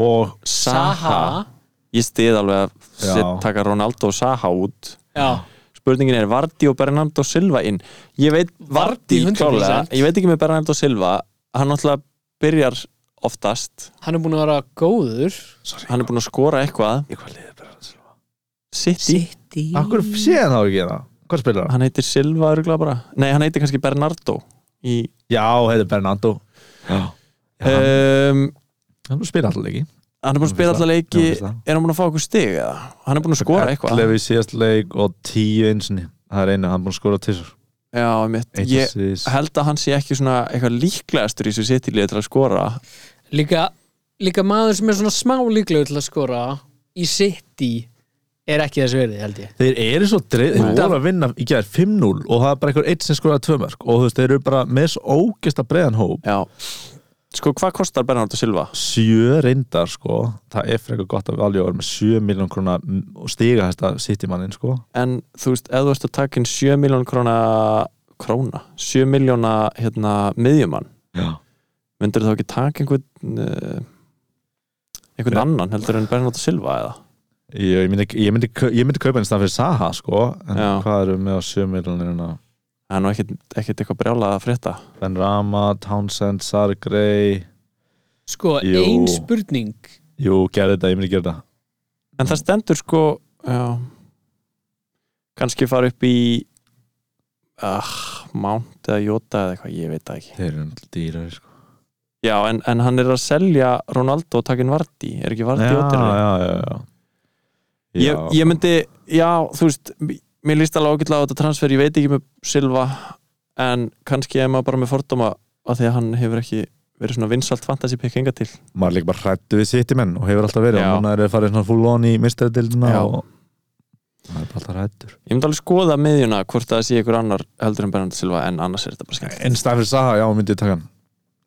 Speaker 3: og
Speaker 2: Saha
Speaker 4: Ég stið alveg að set,
Speaker 3: Já.
Speaker 4: taka Ronaldo og Saha út
Speaker 2: Já,
Speaker 4: Spurningin er Vardí og Bernardo Silva inn Ég veit, Vardí
Speaker 2: 100%.
Speaker 4: klálega Ég veit ekki með Bernardo Silva Hann náttúrulega byrjar oftast
Speaker 2: hann er búin að vera góður
Speaker 4: Hann er búinn að skora eitthvað
Speaker 3: Í hvað liðið bara hans?
Speaker 4: City,
Speaker 2: City
Speaker 3: Akkur sé hann þá ekki það? Hvað spilar hann?
Speaker 4: hann heitir Silva örgulega bara Nei, hann heitir kannski Bernardo í,
Speaker 3: Já, heitir Bernardo Já, hann,
Speaker 4: um,
Speaker 3: hann spila alltaf leiki
Speaker 4: Hann er búinn
Speaker 3: Mér
Speaker 4: að spila
Speaker 3: finnst
Speaker 4: alla
Speaker 3: það.
Speaker 4: leiki
Speaker 3: Mér finnst það.
Speaker 4: Er hann búinn að fá okkur stig eða? Hann er búinn að skora eitthvað
Speaker 3: Lefi síðast leik og tíu einsinni Það er einu, hann er búinn að skora tísur
Speaker 4: Já, mitt Ég held að hann sé ekki svona eitthvað líklegastur í þessu City liði til að skora
Speaker 2: líka, líka maður sem er svona smá líklegur til að skora í City er ekki þess verið held ég
Speaker 3: Þeir eru svo dreif, þeir voru að vinna í gerð 5-0 og það er bara einhver eitt sem skoraði tvö mörg og þú veist, þeir eru bara með svo ógesta breiðan hóp
Speaker 4: Já Sko, hvað kostar Bernardo Silva?
Speaker 3: sjö reyndar sko það er frekar gott að valja að vera með sjö miljón krona og stiga þetta sitt í mannin sko
Speaker 4: En þú veist, ef þú ert að taka inn 7 miljón króna króna, 7 miljóna hérna, miðjumann
Speaker 3: Já.
Speaker 4: myndir þá ekki taka einhvern uh, einhvern annan heldur en Bernardo Silva eða
Speaker 3: Ég, ég, myndi, ég, myndi, kau- ég myndi kaupa henni stað fyrir Saha sko, en
Speaker 4: Já.
Speaker 3: hvað eru með á sjömyrlunirina
Speaker 4: það er nú ekkert, ekkert eitthvað brjálað að frétta
Speaker 3: Ben Rama, Townsend, Sar Grey
Speaker 2: sko,
Speaker 3: Jú.
Speaker 2: ein spurning
Speaker 3: Jú, gerði þetta, ég myndi gera þetta
Speaker 4: en það stendur sko já, kannski fara upp í ah, Mount eða Jota eða eitthvað, ég veit það ekki
Speaker 3: Þeir eru náttúrulega dýrar sko.
Speaker 4: já, en, en hann er að selja Ronaldo og takin Vardí, er ekki
Speaker 3: já,
Speaker 4: Vardí
Speaker 3: já,
Speaker 4: ódýrari?
Speaker 3: já, já.
Speaker 4: ég, ég myndi, já, þú veist m- mér líst alveg ágætlega á þetta transfer ég veit ekki með Silva en kannski er maður bara með fordóma að því að hann hefur ekki verið svona vinsalt fantasy pick enga til
Speaker 3: maður er líka bara hrættu við sitt menn og hefur alltaf verið
Speaker 4: Já.
Speaker 3: og núna eru þeir farið svona full on í mistaradildina
Speaker 4: Já.
Speaker 3: og maður er bara alltaf hrættur
Speaker 4: ég myndi alveg skoða miðjuna hvort það sé ykkur annar heldur en Bernardo Silva en annars er þetta bara skemmt
Speaker 3: En stað fyrir Saha, já, myndi ég taka hann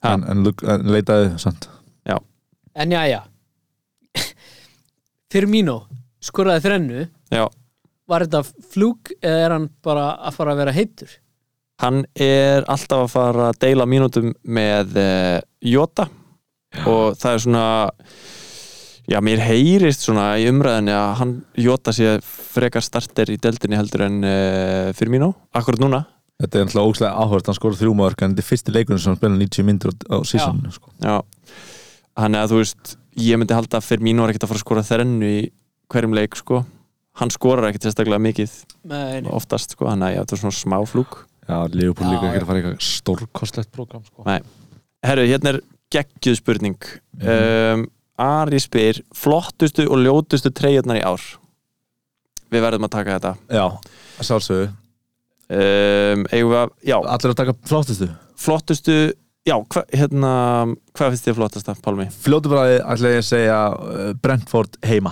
Speaker 4: Ha.
Speaker 3: en, en, luk- en leitaði, sant
Speaker 2: en já, já Firmino skoraði þrennu
Speaker 4: Já.
Speaker 2: var þetta flúk eða er hann bara að fara að vera heitur
Speaker 4: hann er alltaf að fara að deila mínútum með uh, Jota og það er svona já, mér heyrist svona í umræðinni að hann Jota sé frekar starter í deldinni heldur en uh, fyrir mínu, akkurat núna
Speaker 3: Þetta er náttúrulega ógæslega áhverst, hann skorur þrjú mörg en þetta er fyrsti leikurinn sem hann spila 90 myndir á sísunni sko.
Speaker 4: já, hann eða þú veist ég myndi halda að fyrir mínu er ekkert að fara að skora þrennu í hverjum leik sko hann skorar ekkert sérstaklega mikið
Speaker 2: Nei, nei.
Speaker 4: oftast sko, hann að þetta er svona smáflúk
Speaker 3: Já, Leopold líka
Speaker 2: Já,
Speaker 3: ekki að fara í eitthvað stórkostlegt program sko.
Speaker 4: Herru, hérna er geggjuð spurning um, Ari spyr flottustu og ljótustu treyjarnar í ár Við verðum að taka þetta
Speaker 3: Já, sjálfsögðu
Speaker 4: um, eigum við að, já,
Speaker 3: Allir að taka flottistu
Speaker 4: flottustu já, hva, hérna, hvað finnst þið flottasta, Pálmi?
Speaker 3: Fljótu bræði ætla ég að segja uh, Brentford heima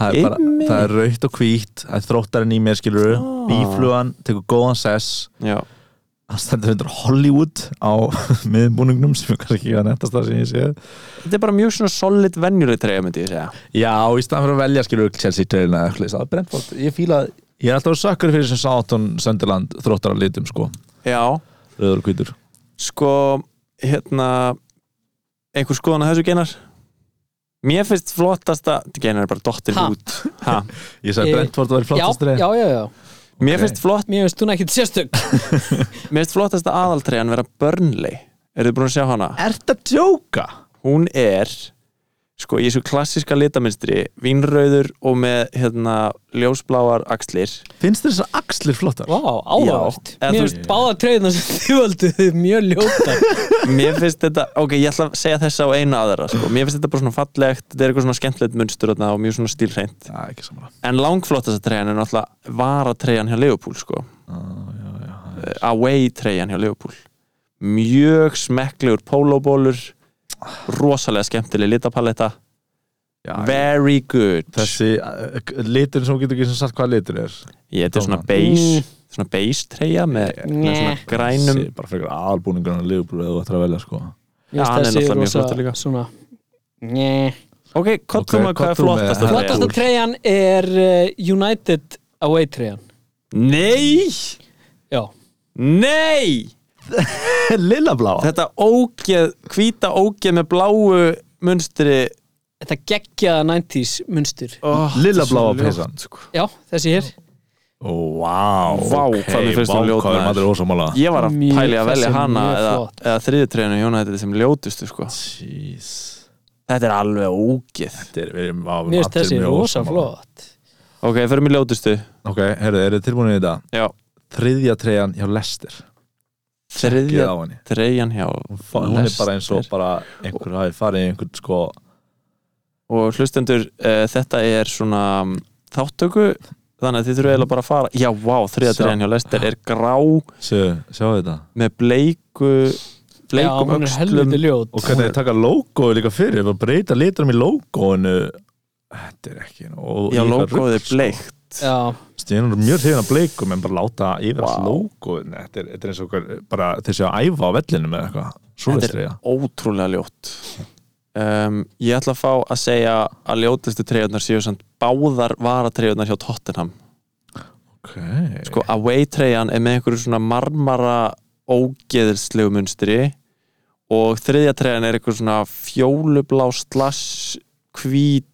Speaker 3: Það er, bara,
Speaker 4: Einmitt. Ah.
Speaker 3: það er raukt og hvítt Það er þróttarinn í mér skilur Bíflugan, tekur góðan sess
Speaker 4: Já,
Speaker 3: Hann stendur hundur Hollywood á miðbúningnum sem er kannski ekki að nettast það sem ég séð
Speaker 4: þetta er bara mjög svona solid venjuleg treyja, myndi ég segja
Speaker 3: Já, í staðan fyrir að velja skilur Chelsea treyna eða eitthvað, það er Brentford Ég fíla, ég er alltaf að sökkur fyrir sem Sáttun Sönderland þróttar að litum sko
Speaker 4: Já,
Speaker 3: Rauður og hvítur
Speaker 4: sko, hérna einhver skoðan að þessu genar? Mér finnst flottasta genar er bara dottir
Speaker 2: Ha?
Speaker 4: út ha.
Speaker 3: Ég sagði
Speaker 2: Ég-
Speaker 3: Brentford var
Speaker 2: já,
Speaker 3: flottast
Speaker 2: já, já, já
Speaker 4: Mér
Speaker 3: Ok.
Speaker 4: finnst flott,
Speaker 2: Mér finnst hún ekkit sérstök
Speaker 4: mér finnst flottasta aðaltreyjan vera Burnley Eru þið búin að sjá hana?
Speaker 3: Ert að djóka?
Speaker 4: Hún er sko í þessu klassiska litamynstri vínrauður og með hérna ljósbláar axlir
Speaker 3: Finnst þér þessar axlir flottar?
Speaker 2: Vá, áhugavert
Speaker 4: Já, eða
Speaker 2: Mér
Speaker 4: þú-
Speaker 2: finnst báða treyðina sem þið völdu þið mjög ljóta
Speaker 4: Mér finnst þetta, ok, ég ætla að segja þessa á eina aðra sko. Mér finnst þetta bara svona fallegt þetta er eitthvað svona skemmtilegt munstur þarna og mjög svona stílreint
Speaker 3: Já, ekki saman
Speaker 4: en langflottasta treyjan er náttúrulega varatreyjan hjá Leopold sko. Eh, away treyjan hjá Leopold mjög smekklegur pólóbólur rosalega skemmtileg litapaletta very good
Speaker 3: Þessi uh, litur sem hún getur ekki sem sagt hvað litur er
Speaker 4: ég þetta er svona
Speaker 3: Tóna. Mm.
Speaker 4: beige svona beige treyja með, með svona
Speaker 2: Njeh.
Speaker 4: grænum
Speaker 3: Þessi, Bara frekar aðalbúningur en liðbúlu eða þú ættir að velja sko
Speaker 2: Mér
Speaker 4: hann er
Speaker 2: finnst þessi
Speaker 4: náttúrulega mjög flottur líka.
Speaker 2: rosa svona Njæ
Speaker 4: ok,
Speaker 3: Ok,
Speaker 4: kottum að hvað er
Speaker 3: kollum með-
Speaker 4: flottasta
Speaker 3: Leopold.
Speaker 2: Flottasta treyjan
Speaker 4: treyjan
Speaker 2: er eh, United away treyjan
Speaker 4: nei,
Speaker 2: Já,
Speaker 4: nei
Speaker 3: Lilla bláa
Speaker 4: þetta ógeð, hvíta ógeð með bláu munstri
Speaker 2: þetta geggjaða 90s munstur
Speaker 4: oh,
Speaker 3: Lilla bláa peysan
Speaker 2: Já, þessi hér
Speaker 3: Vá,
Speaker 4: Vá, hvað mér finnst hún ljót,
Speaker 3: Hvað er
Speaker 4: maður.
Speaker 3: maður ósámála
Speaker 4: ég var að
Speaker 2: Mjög-
Speaker 4: pæli að velja
Speaker 2: þessi er
Speaker 4: hana
Speaker 2: mjög
Speaker 4: eða,
Speaker 2: flott.
Speaker 4: eða þriðutreinu hjónætti sem ljótustu sko.
Speaker 3: Jeez
Speaker 4: þetta er alveg ógeð
Speaker 3: Þetta er, við erum á
Speaker 2: Mér finnst þessi rosa flott
Speaker 4: ok, fyrir mig ljótustu
Speaker 3: Ok, herðu, eru þið tilbúinir í þetta?
Speaker 4: Já.
Speaker 3: Þriðja treyjan hjá Lester Ekki
Speaker 4: þriðja
Speaker 3: á henni
Speaker 4: trejan hjá
Speaker 3: Hún er bara eins og
Speaker 4: Leicester.
Speaker 3: bara einhver hafi farið í einhvern sko
Speaker 4: og hlustendur, uh, þetta er svona um, þáttöku þannig að þið þurfum eiginlega bara að fara já, vá, þriðja
Speaker 3: Sjá.
Speaker 4: trejan hjá Lester er grá
Speaker 3: Sjáu, sjáu þetta
Speaker 4: með bleiku
Speaker 2: Já,
Speaker 4: bleikum
Speaker 2: hún er
Speaker 4: öxlum
Speaker 2: helviti ljót
Speaker 3: Og hvernig þið taka logoðu líka fyrir Bara breyta liturum í logoinu Þetta er ekki nóg-
Speaker 4: já,
Speaker 3: í eitthvað
Speaker 4: logoðið
Speaker 3: rugl,
Speaker 4: er
Speaker 3: sko.
Speaker 4: bleikt
Speaker 2: Já,
Speaker 3: Stíðan er mjög hrifin að bleikum en bara láta yfir allt
Speaker 4: Vá.
Speaker 3: logoðin þetta, er- þetta er eins og okkur, bara þeir séu að æfa á vellinu með eitthvað, svo veist
Speaker 4: Þetta
Speaker 3: þið
Speaker 4: er ótrúlega ljótt um, Ég ætla að fá að segja að ljótustu treyjarnar séu samt báðar varatreyjarnar hjá Tottenham
Speaker 3: okay.
Speaker 4: Sko away treyjan er með einhverju svona marmara ógeðilslegu munstri og þriðja treyjan er einhver svona fjólublá slash hvít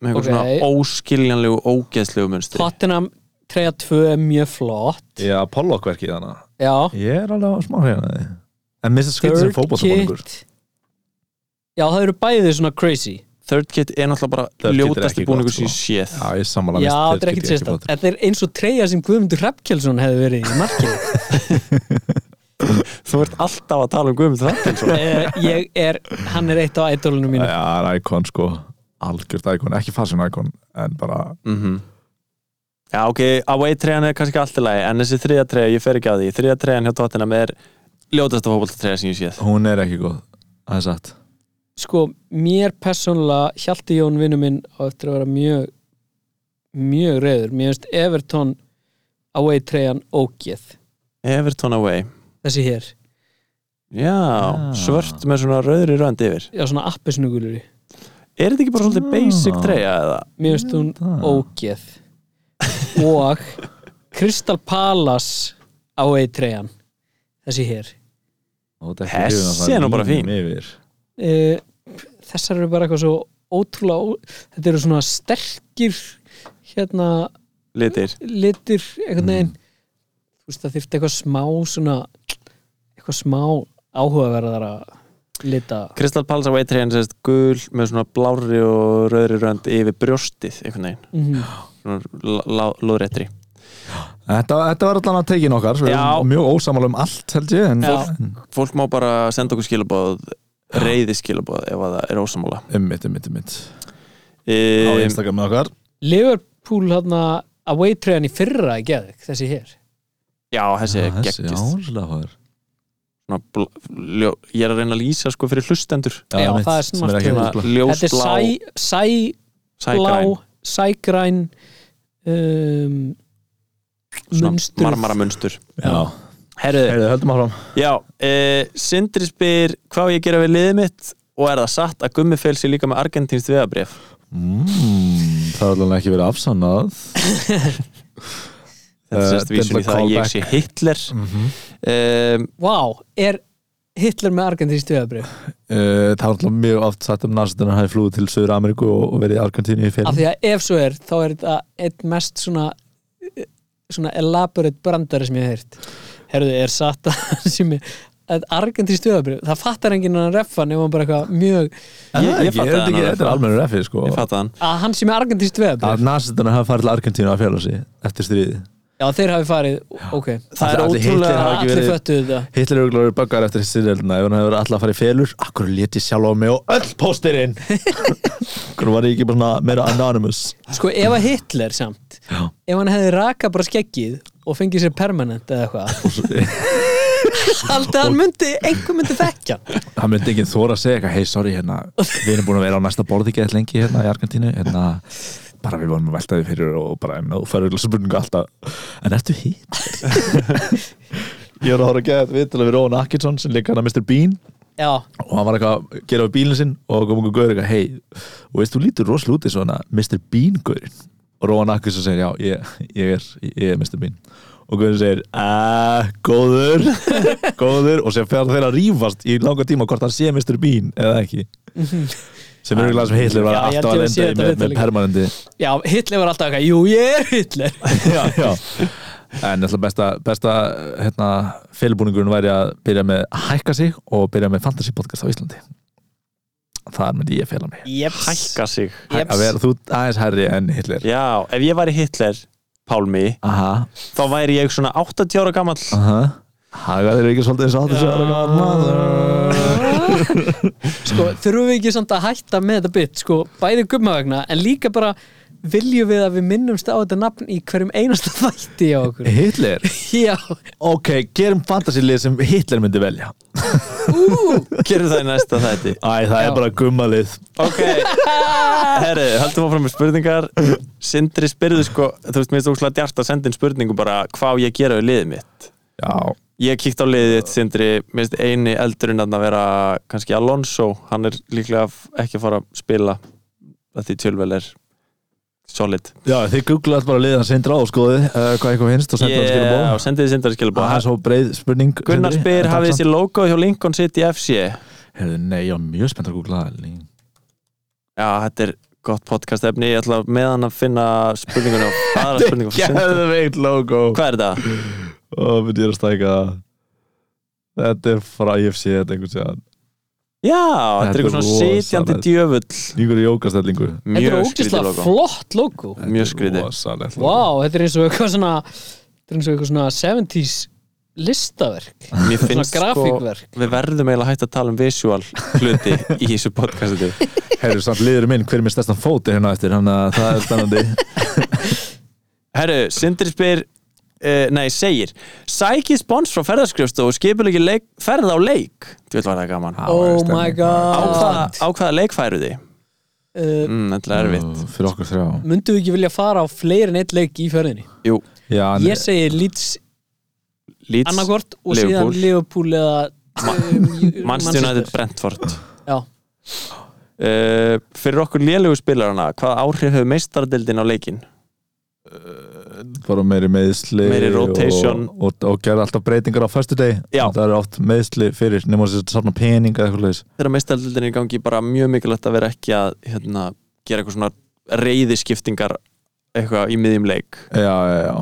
Speaker 4: með einhver
Speaker 2: Ok.
Speaker 4: svona óskiljanlegu ógeðslegu munstri
Speaker 2: Tottenham treyja 2 er mjög flott
Speaker 3: Já, Pollockverkið þannig
Speaker 2: Já,
Speaker 3: hérna. Ég er alveg á smá hrifin að því En minnst að skilja sem fótboltabóningur
Speaker 2: Já, það eru bæði svona crazy
Speaker 4: Third kit er náttúrulega bara
Speaker 3: Third kit er
Speaker 4: ljótasti
Speaker 3: ekki gott,
Speaker 4: búningur sem ég
Speaker 3: sko.
Speaker 4: séð
Speaker 3: Já, ég sammála
Speaker 2: Já,
Speaker 3: mér finnst
Speaker 2: þetta er
Speaker 3: þeir
Speaker 2: ekkit
Speaker 3: skipti
Speaker 2: sérstætt
Speaker 3: flottir.
Speaker 2: Þetta er eins og treyja sem Guðmundur Hrafkjálsson hefði verið í markið
Speaker 4: Þú ert alltaf að tala um Guðmund Þrættin
Speaker 2: Eh, Ég er, hann er eitt á ædolunum mínu
Speaker 3: Já, það er íkon sko Algjört íkon, ekki fashion íkon En bara, Mhm.
Speaker 4: -hmm. Já, ok, away treyjan er kannski allt í lagi en þessi þriða treyja, ég fer ekki að því þriða treyjan hjá Tottenham er ljótasta fótboltatreyja sem ég séð
Speaker 3: hún er ekki góð Það er satt
Speaker 2: sko, mér persónulega Hjalti Jón vinnu minn á eftir að vera mjög mjög reyður, mér finnst Everton away treyjan ógeð
Speaker 4: Everton away
Speaker 2: þessi hér,
Speaker 4: Já,
Speaker 3: Ah.
Speaker 4: svört með svona rauðri rönd yfir
Speaker 2: já svona appisnugulur
Speaker 4: Er þetta ekki bara svolítið
Speaker 3: Ah.
Speaker 4: basic treyja eða?
Speaker 2: mér finnst hún
Speaker 3: það.
Speaker 2: ógeð og Crystal Palace away treyjan þessi hér
Speaker 3: Og þetta
Speaker 4: Þessi
Speaker 3: hrifin af svona
Speaker 4: er nú bara
Speaker 3: línum
Speaker 4: fín.
Speaker 3: yfir.
Speaker 2: Eh, þessar eru bara eitthvað svo ótrúlega ó... þetta eru svona sterkir hérna
Speaker 4: Litir
Speaker 2: litir
Speaker 4: Mm.
Speaker 2: einhvern veginn þú veist það þyrfti eitthvað smá svona eitthvað smá áhugaverðara lita
Speaker 4: Crystal Palace away treyjan sérst gul með svona blári og rauðri rönd yfir brjóstið einhvern veginn
Speaker 2: Mhm.
Speaker 4: svona lóðréttri
Speaker 3: Þetta, þetta var allan að tekin okkar Við
Speaker 4: Já.
Speaker 3: erum mjög ósamála um allt held ég en, Mm.
Speaker 2: Já.
Speaker 4: Fólk má bara senda okkur skilabóð reyði skilabóð ef að það er ósamála
Speaker 3: Ummitt, ummitt, ummitt Á
Speaker 4: um,
Speaker 3: Instagram með okkar
Speaker 2: Liverpool hérna away treyjan í fyrra í geðvik þessi hér
Speaker 4: já, þessi er
Speaker 3: þessi
Speaker 4: geggjist
Speaker 3: áslagur
Speaker 4: Svona bl- ljó- ég er að reyna að lýsa sko fyrir hlustendur
Speaker 2: Já, það er smart
Speaker 4: Svona
Speaker 2: Þetta er
Speaker 4: ljósblá,
Speaker 2: sæ, sæ blá,
Speaker 4: sægræn
Speaker 2: sægræn um, munstur
Speaker 4: marmara munstur
Speaker 3: Já,
Speaker 4: Herðu,
Speaker 3: heyrðu, höldum áfram
Speaker 4: já, e, Sindri spyr hvað á ég að gera við liðið mitt og er það satt að Gummi fel sér líka með argentínst veðabrif
Speaker 3: mm, Það er alveg ekki verið afsannað
Speaker 4: þetta
Speaker 3: Eh,
Speaker 4: sérst vísun í
Speaker 3: þetta
Speaker 4: það að ég
Speaker 3: callback. Mhm.
Speaker 4: sé Hitler um,
Speaker 2: Vá, er Hitler með argentínsk döðabrif
Speaker 3: Uh, það er alltaf mjög oft sagt um narsitunar hann hafi flúið til Suður Ameríku og og verið í Argentínu í fyrir
Speaker 2: af því að ef svo er þá er þetta eitt mest svona eh, svona elaborate brandari sem ég hef heyrt herðu, er satt að sem ég að argentínsk döðabrif, það fattar enginn hann reffa nema hann bara eitthvað mjög
Speaker 4: ég- ég fattaði
Speaker 3: þetta ekki,
Speaker 4: hann
Speaker 3: þetta er almennur effi sko
Speaker 4: ég fatt hann
Speaker 2: að hann sem er argentínsk döðabrif,
Speaker 3: að narsitunar hafi farið til Argentínu að fjöla sig eftir stríði
Speaker 2: já þeir hafi farið ok,
Speaker 4: það er
Speaker 3: Allir Hitler
Speaker 4: ótrúlega
Speaker 3: hafa ekki
Speaker 2: allir
Speaker 3: verið
Speaker 2: föttuðu þetta
Speaker 3: Hitler eru glóður böggar eftir styrjöldina ef hann hefur alltaf farið í félur akkur lét ég sjálf á mig og öll pósterinn akkur var ég ekki bara svona meira anonymous
Speaker 2: Sko ef að Hitler samt
Speaker 3: Já.
Speaker 2: Ef hann hefði rakað bara skeggið Og fengið sér permanent eða eitthvað
Speaker 3: hann
Speaker 2: Alltaf hann myndi, einhver myndi þekkja hann.
Speaker 3: myndi ekki þóra að segja eitthvað hei sorry hérna við erum búin að vera á næsta borði gett lengi hérna í Argentínu hérna bara við vorum að velta því fyrir og bara en þú færður spurningu alltaf en ertu hitt? ég var að horfa að geða þetta viðtölu við Róan Atkinson sem leikar hann að Mr. Bean
Speaker 2: Já,
Speaker 3: og hann var eitthvað að gera við bílinn sinn og kom einhver gaur eitthvað, hei, og veist þú lítur rosalega út í svona Mr. Bean gaurinn og Róan Akkus og segir, já, ég, ég er ég er Mr. Bean og gaurinn segir, aaa, góður góður, og sem fer þeir að rífast í langa tíma hvort hann sé Mr. Bean eða ekki sem er eitthvað sem heitlega var
Speaker 2: Mhm. Já, ég held ég
Speaker 3: alltaf að
Speaker 2: að sé þetta
Speaker 3: lenda í með,
Speaker 2: viðtal
Speaker 3: með
Speaker 2: líka.
Speaker 3: permanenti
Speaker 2: já, Hitler var alltaf eitthvað Jú, ég er Hitler
Speaker 3: já, já En alltaf besta, besta hérna, félbúningurinn væri að byrja með að hækka sig og byrja með fantasy podcast á Íslandi Þar myndi ég fela mig
Speaker 2: Jeps,
Speaker 4: hækka sig
Speaker 2: jeps.
Speaker 3: að vera þú aðeins herri en Hitler
Speaker 4: já, ef ég væri Hitler Pálmi,
Speaker 3: aha,
Speaker 4: þá væri ég svona 80 ára gamall
Speaker 3: aha Haga þeir ekki svolítið eins og áttu sér
Speaker 2: Sko
Speaker 4: Mm.
Speaker 2: þurfum við ekki samt að hætta með þetta bit Sko bæði gumma vegna En líka bara viljum við að við minnumst á þetta nafn Í hverjum einasta þætti á okkur
Speaker 3: Hitler?
Speaker 2: Já,
Speaker 3: Ok, gerum fantasylið sem Hitler myndi velja
Speaker 4: gerum það í næsta þætti
Speaker 3: Æ, það
Speaker 2: Já.
Speaker 3: er bara gummalið
Speaker 4: ok, herri, haldum áfram með spurningar Sindri spyrðu sko þú veist, mér er stókslega djart að senda inn spurningu bara hvað á ég að gera við liðið mitt
Speaker 3: Já,
Speaker 4: ég kíkt á liðið þitt, Sindri mér finnst eini eldurinn þarna að vera kannski Alonso, hann er líklega f- ekki að fara að spila að því tjölvel er solid
Speaker 3: já þið googlaði bara liðan sindra á skoðið uh, hvað eitthvað finnst og sendur yeah. hann
Speaker 4: og sendið þið Sindri
Speaker 3: skilabóð
Speaker 4: skilabóð
Speaker 3: Það er svo breið spurning
Speaker 4: Gunnar
Speaker 3: Sindri.
Speaker 4: spyr,
Speaker 3: En
Speaker 4: hafið
Speaker 3: takk
Speaker 4: þessi logo hjá Lincoln City FC
Speaker 3: Herðu, nei, ég var mjög spennt að googla það Lí-
Speaker 4: já, þetta er gott podcast efni, ég ætla meðan að finna spurningunum, aðra spurningum frá Sindra.
Speaker 3: Geðveikt logo
Speaker 4: hvað er það?
Speaker 3: Og myndi ég er að stæka það Þetta er frá IFC Þetta er einhvern séðan
Speaker 4: Já, þetta er
Speaker 3: Þetta er
Speaker 4: eitthvað svona
Speaker 3: rosalegt.
Speaker 4: sitjandi djöfull
Speaker 3: Yngur jókastellingu
Speaker 2: þetta er
Speaker 4: Mjög skrítið
Speaker 2: ógislega
Speaker 4: logo
Speaker 2: flott logo
Speaker 3: Þetta
Speaker 4: Mjög
Speaker 3: er
Speaker 4: skrítið.
Speaker 3: rosalegt logo.
Speaker 2: Vá, þetta er eins og eitthvað svona Þetta er eins og eitthvað svona 70s listaverk
Speaker 4: Mér
Speaker 2: Svona
Speaker 4: finnst sko,
Speaker 2: grafíkverk
Speaker 4: við verðum eiginlega hægt að tala um visual hluti í þessu podcasti
Speaker 3: Herru, samt liður minn Hver er mér stærstan fóti hérna eftir Þannig að það er spennandi
Speaker 4: Herru, Sindri spyr uh, Nei, segir Sækið spons frá ferðarskrifstu og skipul ekki leik, ferð á leik Þú veit var það gaman Á,
Speaker 2: Oh
Speaker 3: stemning.
Speaker 2: my
Speaker 4: á,
Speaker 2: god
Speaker 4: hvaða, á hvaða leik færu þið?
Speaker 2: uh,
Speaker 4: Mm, þetta er erfitt
Speaker 3: Ó, Fyrir okkur þrjá
Speaker 2: Mundu við ekki vilja fara á fleiri en eitt leik í fjörðinni?
Speaker 4: Jú,
Speaker 3: Já, en
Speaker 2: Ég segi Leeds
Speaker 4: Leeds,
Speaker 2: annarkvort og
Speaker 4: Liverpool.
Speaker 2: síðan Liverpool eða um,
Speaker 4: Manchester United, Brentford
Speaker 2: Já,
Speaker 4: uh, Fyrir okkur lélegu spilarana Hvaða áhrif hefur meistardildin á leikin?
Speaker 3: bara meiri meðsli
Speaker 4: Meiri rotation.
Speaker 3: Og, og, og gerði alltaf breytingar á föstu deg
Speaker 4: Já.
Speaker 3: Það eru oft meðsli fyrir Nefnum að sérna pening eða eitthvað leis
Speaker 4: þegar meistaldildin er í gangi bara mjög mikilvægt að vera ekki að hérna, gera eitthvað svona reyðiskiptingar eitthvað í miðjum leik
Speaker 3: Já, já, já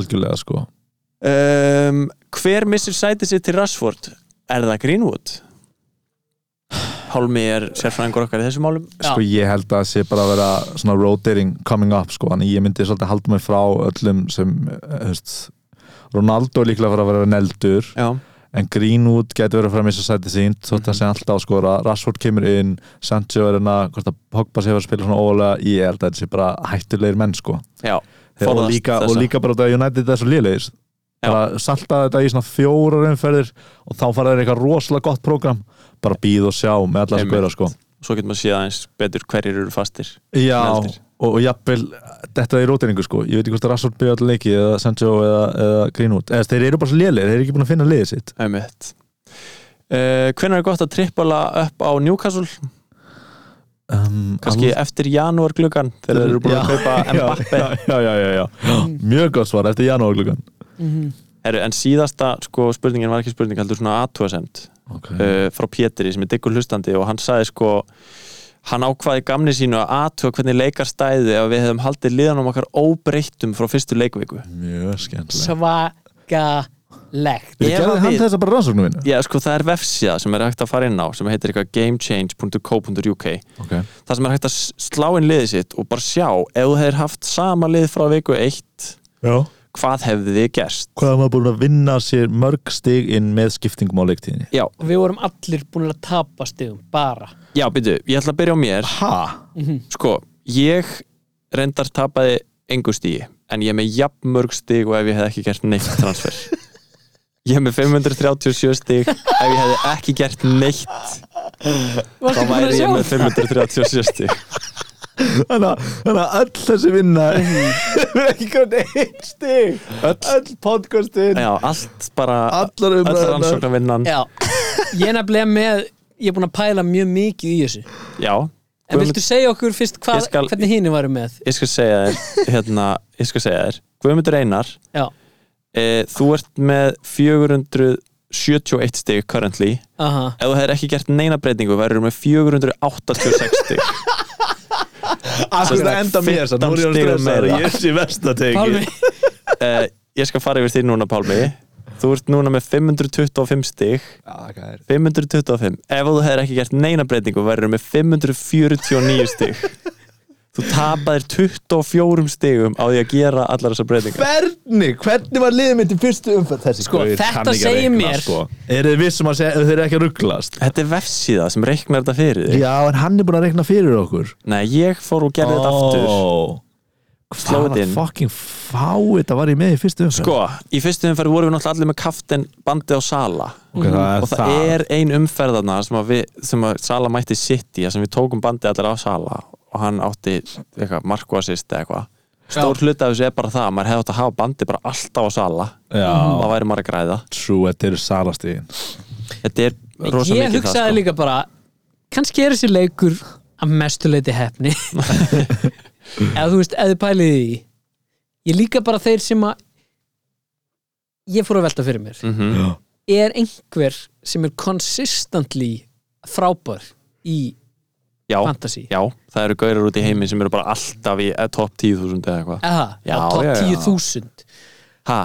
Speaker 3: Algjörlega sko
Speaker 4: um, Hver missir sætið sér til Rashford? Er það Greenwood? Pálmi er sérfræðingur okkar í þessum málum
Speaker 2: Já.
Speaker 3: sko ég held að það sé bara að vera svona rotating coming up sko þannig ég myndi svolítið halda mig frá öllum sem eh, hefst, Ronaldo er líklega að fara að vera neldur
Speaker 4: Já,
Speaker 3: en Greenwood getur verið að fara að missa sæti sínt þótt að sé alltaf að skora Rashford kemur inn Sancho er hérna hvort að Pogba sé að fara að spila svona ólega ég held að þetta sé bara hættulegir menn sko
Speaker 4: já
Speaker 3: Þeir, og,
Speaker 4: forðast
Speaker 3: líka,
Speaker 4: þessa.
Speaker 3: og líka bara út af að United er svo liðlegis bara saltaði þetta í svona fjórar umferðir og þá fara þeir eitthvað rosalega gott prógram bara býð og sjá með alla þessu
Speaker 4: Einmitt.
Speaker 3: góra sko
Speaker 4: svo getur maður séð aðeins betur hverjir eru fastir
Speaker 3: Já,
Speaker 4: Eldir.
Speaker 3: og, og jafnvel þetta er rótiningu sko, ég veit ekki hvort að Rassort byrja allir leiki eða Sancho eða, eða Greenwood eða þeir eru bara svo lélir, þeir eru ekki búin að finna liðið sitt
Speaker 4: Einmitt. Uh, hvenær er gott að trippala upp á Newcastle
Speaker 3: um,
Speaker 4: kannski eftir janúar gluggan þegar þeir eru búin að kaupa Mbappe
Speaker 3: já, já, já, já, já.
Speaker 4: Mm.
Speaker 3: mjög gott svar eftir janúarglugan
Speaker 4: Heru, en síðasta sko, spurningin var ekki spurning heldur svona aðtúasemd
Speaker 3: okay.
Speaker 4: uh, frá Pétri sem er diggur hlustandi og hann sagði sko hann ákvaði gamni sínu að aðtúa hvernig leikar stæði ef við hefðum haldið liðanum okkar óbreyttum frá fyrstu leikviku
Speaker 3: mjög skemmtilegt
Speaker 2: svakalegt
Speaker 3: Við
Speaker 4: Ef að
Speaker 3: gerðum hann
Speaker 4: við-
Speaker 3: þess að bara rannsóknu mínu
Speaker 4: Já, sko, það er vefsíða sem er hægt að fara inn á sem heitir eitthvað gamechange.co.uk
Speaker 3: okay.
Speaker 4: það sem er hægt að s- slá inn liðið sitt og bara sjá ef þú hefur haft sama lið frá viku 1
Speaker 3: Já.
Speaker 4: hvað hefði þið gerst
Speaker 3: Hvað er maður búin að vinna sér mörg stig inn með skiptingum á leiktíðinni?
Speaker 4: Já,
Speaker 2: og við vorum allir búin að tapa stigum bara
Speaker 4: já, byrju, ég ætla að byrja á mér
Speaker 3: Ha?
Speaker 4: Sko, ég reyndar tapaði engu stíi en ég er með jafn mörg stíg og ef ég hef ekki gert neitt transfer Ég er með 537 stíg ef ég hef ekki gert neitt
Speaker 2: Varstu
Speaker 4: þá
Speaker 2: búin að
Speaker 4: væri
Speaker 2: sjá
Speaker 4: ég með 537 stíg
Speaker 3: Þannig að- þannig að öll þessi vinna er ekki grann einn stig Öll, öll podcastin
Speaker 4: Já, allt bara
Speaker 3: Allar umræðurnar.
Speaker 4: öll rannsóknarvinnan Já,
Speaker 2: Já, ég er nefnilega með ég er búin að pæla mjög mikið í þessu en
Speaker 4: Guðmund,
Speaker 2: viltu segja okkur fyrst hvað,
Speaker 4: Ég skal-
Speaker 2: hvernig hinn varum með
Speaker 4: ég skal segja þér hérna, ég skal segja þér Guðmundur Einar,
Speaker 2: Já,
Speaker 4: e, þú ert með 471 stíg currently
Speaker 2: aha,
Speaker 4: ef þú hefur ekki gert neina breytingu verður með 486 stíg
Speaker 3: Akkur
Speaker 4: Sem
Speaker 3: þetta enda mér þess að nú er ég að
Speaker 4: 15 stigum
Speaker 3: stressa
Speaker 4: meira.
Speaker 3: Ég er sér verst að teki
Speaker 2: Pálmi
Speaker 4: uh, ég skal fara yfir því núna Pálmi þú ert núna með 525 stig 525 ef þú hefur ekki gert neina breytingu verður með 549 stig þú tapaðir 24 stigum á því að gera allar þessar breytingar
Speaker 3: Hvernig, hvernig var liðið mitt í fyrstu umfætt þessi
Speaker 2: Sko,
Speaker 3: gaur
Speaker 2: þetta
Speaker 3: kann ekki að
Speaker 2: segir
Speaker 3: reikna,
Speaker 2: mér-
Speaker 3: sko. Eru þið vissum að segja, þeir eru ekki að rugglast
Speaker 4: þetta er vefsíða sem reiknar þetta fyrir þig
Speaker 3: Já, en hann er búin að reikna fyrir okkur
Speaker 4: nei, ég fór og gerði þetta aftur Sló
Speaker 3: Hvaða
Speaker 4: þetta inn.
Speaker 3: fucking fáið þetta var ég með í fyrstu umfætt
Speaker 4: sko, í fyrstu umferð vorum við náttúrulega allir með kaftin bandi á Sala og það, er ein umferðarna sem að, við, sem að Sala mætti sitt í sem við tókum bandi allir á Sala og hann átti eitthvað markvassist eða eitthvað stór hluti af þessu er bara það að maður hefði átt að hafa bandi bara alltaf á Sala
Speaker 3: Já,
Speaker 4: það væri maður að græða
Speaker 3: trú, þetta eru salastíðin
Speaker 4: þetta er rosa
Speaker 2: Ég
Speaker 4: mikið
Speaker 2: hugsaði
Speaker 4: það sko.
Speaker 2: líka bara kannski er þessi leikur að mestuleiti hefni eða þú veist, eða pælið í því. ég líka bara þeir sem að ég fór að velta fyrir mér
Speaker 4: mm -hmm.
Speaker 2: er einhver sem er consistently frábær í
Speaker 4: já,
Speaker 2: fantasy
Speaker 4: já, það eru gaurar út í heiminn sem eru bara alltaf í eh, topp 10.000 eða eitthvað
Speaker 2: eða, já,
Speaker 4: Já,
Speaker 2: top
Speaker 4: já, já.
Speaker 2: 10.000
Speaker 4: ha,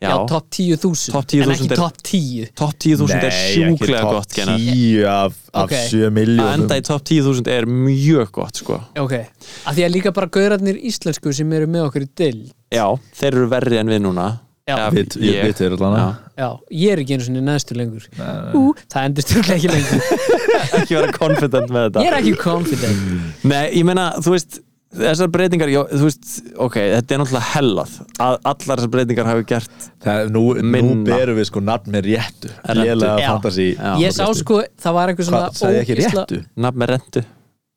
Speaker 2: já,
Speaker 4: já,
Speaker 2: top 10.000
Speaker 4: Topp 10.000
Speaker 2: en ekki
Speaker 4: er-
Speaker 2: top 10
Speaker 4: topp 10.000 er sjúklega gott Gunnar.
Speaker 3: Tíu af, af
Speaker 2: Ok.
Speaker 3: sjö
Speaker 4: að
Speaker 3: miljónum
Speaker 4: enda í topp 10.000 er mjög gott sko.
Speaker 2: ok, af því að líka bara gaurarnir íslensku sem eru með okkur í dild
Speaker 4: já, þeir eru verri en við núna
Speaker 2: Já.
Speaker 4: Eða
Speaker 3: Við- ég- við erum allan að-
Speaker 4: Já.
Speaker 2: já, ég er ekki einu svona neðstu lengur ú, það endist þurfa ekki lengur
Speaker 4: ekki vera confident með þetta
Speaker 2: ég er ekki confident
Speaker 4: Nei, ég meina, þú veist þessar breytingar, já, þú veist, ok þetta er náttúrulega hellað að allar þessar breytingar hafi gert
Speaker 3: Það, nú, nú
Speaker 4: Minna.
Speaker 3: berum við sko nafn með réttu
Speaker 4: Réttu.
Speaker 3: Lélega
Speaker 2: Já.
Speaker 3: fantasi
Speaker 2: ég sá sko, það var eitthvað svona
Speaker 3: Hvað, sagði ég ekki
Speaker 2: ógeðsla-
Speaker 3: réttu?
Speaker 4: nafn með rentu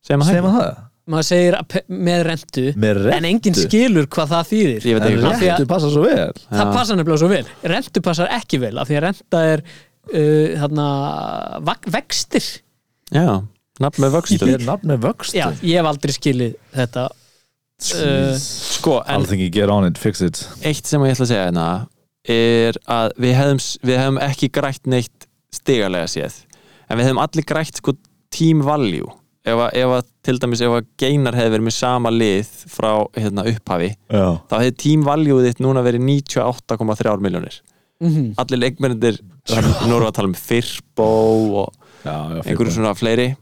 Speaker 4: sem að
Speaker 3: Segir maður það?
Speaker 2: maður segir að pe- með rentu
Speaker 3: Með
Speaker 2: en enginn
Speaker 3: rentu?
Speaker 2: skilur hvað það þýðir
Speaker 4: ég veit
Speaker 3: En
Speaker 4: ekki hvað
Speaker 2: Af því að-
Speaker 3: réttu passa svo vel
Speaker 2: það passa nefnilega svo vel rentu passar ekki vel af því að renta er uh, þarna, vak- vextir
Speaker 4: já, nafn með vöxtum
Speaker 3: Þetta er nafn með vöxtu
Speaker 2: já, ég hef aldrei skilið þetta uh,
Speaker 4: sko, en
Speaker 3: Alþingi get on it, fix it
Speaker 4: eitt sem ég ætla að segja hérna er að við hefum, við hefum ekki grætt neitt stigalega séð en við hefum allir grætt sko team value ef að, ef að til dæmis ef að geinar hefði verið með sama lið frá hérna, upphafi
Speaker 3: Já,
Speaker 4: þá hefði team value þitt núna verið 98,3 miljónir
Speaker 2: Mhm.
Speaker 4: allir leikmennir nú erum við að tala um Firbo og
Speaker 3: já, já
Speaker 4: einhverju svona fleiri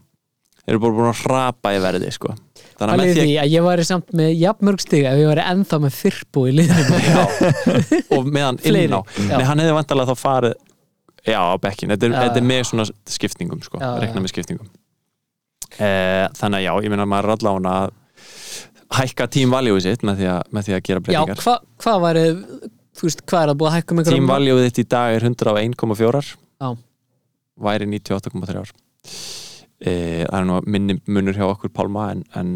Speaker 4: eru bara búin að hrapa í verði sko. þannig að
Speaker 2: alveg
Speaker 4: með
Speaker 2: því að ég væri samt með jafnmörg stig ef ég væri ennþá með fyrrbú í liðinu
Speaker 4: því að og meðan
Speaker 2: Fleiri,
Speaker 4: inn á
Speaker 2: já.
Speaker 4: Nei, hann hefði vantarlega þá farið já, á bekkin, þetta er,
Speaker 2: Já,
Speaker 4: þetta
Speaker 2: já.
Speaker 4: er með svona skiptingum sko,
Speaker 2: Já, já.
Speaker 4: rekna með skiptingum eh, þannig að já, ég meina að maður er allan að hækka team value sitt með því að, með því að gera
Speaker 2: já,
Speaker 4: breytingar
Speaker 2: hva, hvað væri þú veist, hvað er það búið að hækka um með
Speaker 4: Team value þitt í dag er 101,4
Speaker 2: Já.
Speaker 4: væri 98,3 ár e, það er nú minni munur hjá okkur Pálma en, en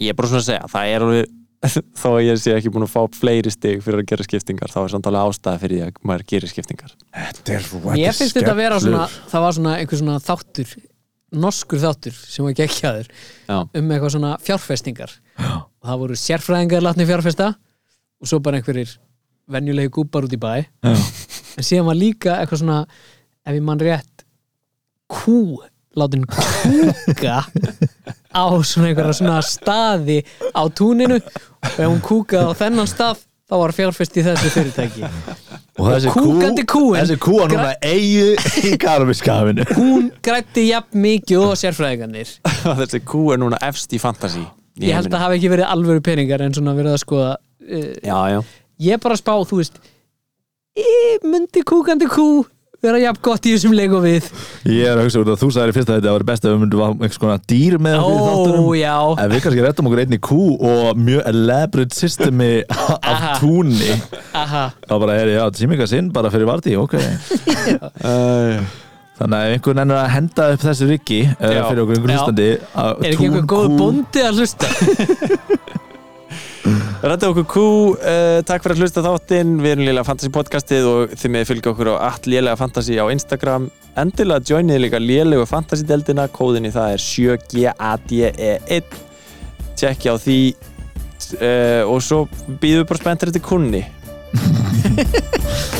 Speaker 4: ég er bara svona að segja það er alveg þó að ég sé ekki búin að fá fleiri stig fyrir að gera skiptingar þá er samt alveg ástæða fyrir því að maður gerir skiptingar
Speaker 2: Mér finnst þetta að vera svona, það var svona einhver svona þáttur, norskur þáttur sem var gekkjaður
Speaker 4: Já.
Speaker 2: um eitthvað svona fjárfestingar og það voru sérfræðingar látni fjárfesta og svo bara einhverjir venjulegi gúpar út í bæ Já. en síðan var líka eitthvað svona ef ég mann rétt kú, látin kúka á svona einhverja svona staði á túninu og ef hún kúkaði á þennan stað þá var fjárfest í þessu fyrirtæki
Speaker 3: og þessi
Speaker 2: kúkandi kúin-
Speaker 3: þessi kú á núna eigu í karumiskafinu
Speaker 2: hún grætti jafn mikið og sérfræðingarnir
Speaker 4: þessi Q er núna efst í fantasy í
Speaker 2: ég held að
Speaker 4: heiminum.
Speaker 2: hafi ekki verið alvöru peningar en svona verið að skoða uh,
Speaker 4: já, já.
Speaker 2: ég er bara að spá, þú veist ég myndi kúkandi kú vera jafn gott í þessum leik og við
Speaker 3: ég er að hugsa út að þú sagði fyrst að þetta var best að við myndum að hafa einhvers konar dýr með
Speaker 2: ó
Speaker 3: okkur í þáttunum
Speaker 2: já,
Speaker 3: en við kannski réttum okkur einni kú og mjög elaborate systemi af
Speaker 2: Aha.
Speaker 3: túnni
Speaker 2: aha
Speaker 3: þá bara er ég að tímika sinn bara fyrir vardí ok þannig að ef einhver nennir að henda upp þessu riggi uh,
Speaker 4: Já.
Speaker 3: fyrir okkur einhver
Speaker 2: Já.
Speaker 3: hlustandi að
Speaker 2: er ekki einhver góð
Speaker 3: kú-
Speaker 2: bóndi að hlusta
Speaker 4: Rætti okkur Q, uh, takk fyrir að hlusta á þáttinn, við erum Lélega Fantasy podcastið og þið með fylgja okkur á allt Lélega Fantasy á Instagram. Endilega joinið líka Lélegu Fantasy deldina, kóðin í það er 7GADE1 tjekki E á því eh, uh, og svo býðum við bara spenntir þetta kunni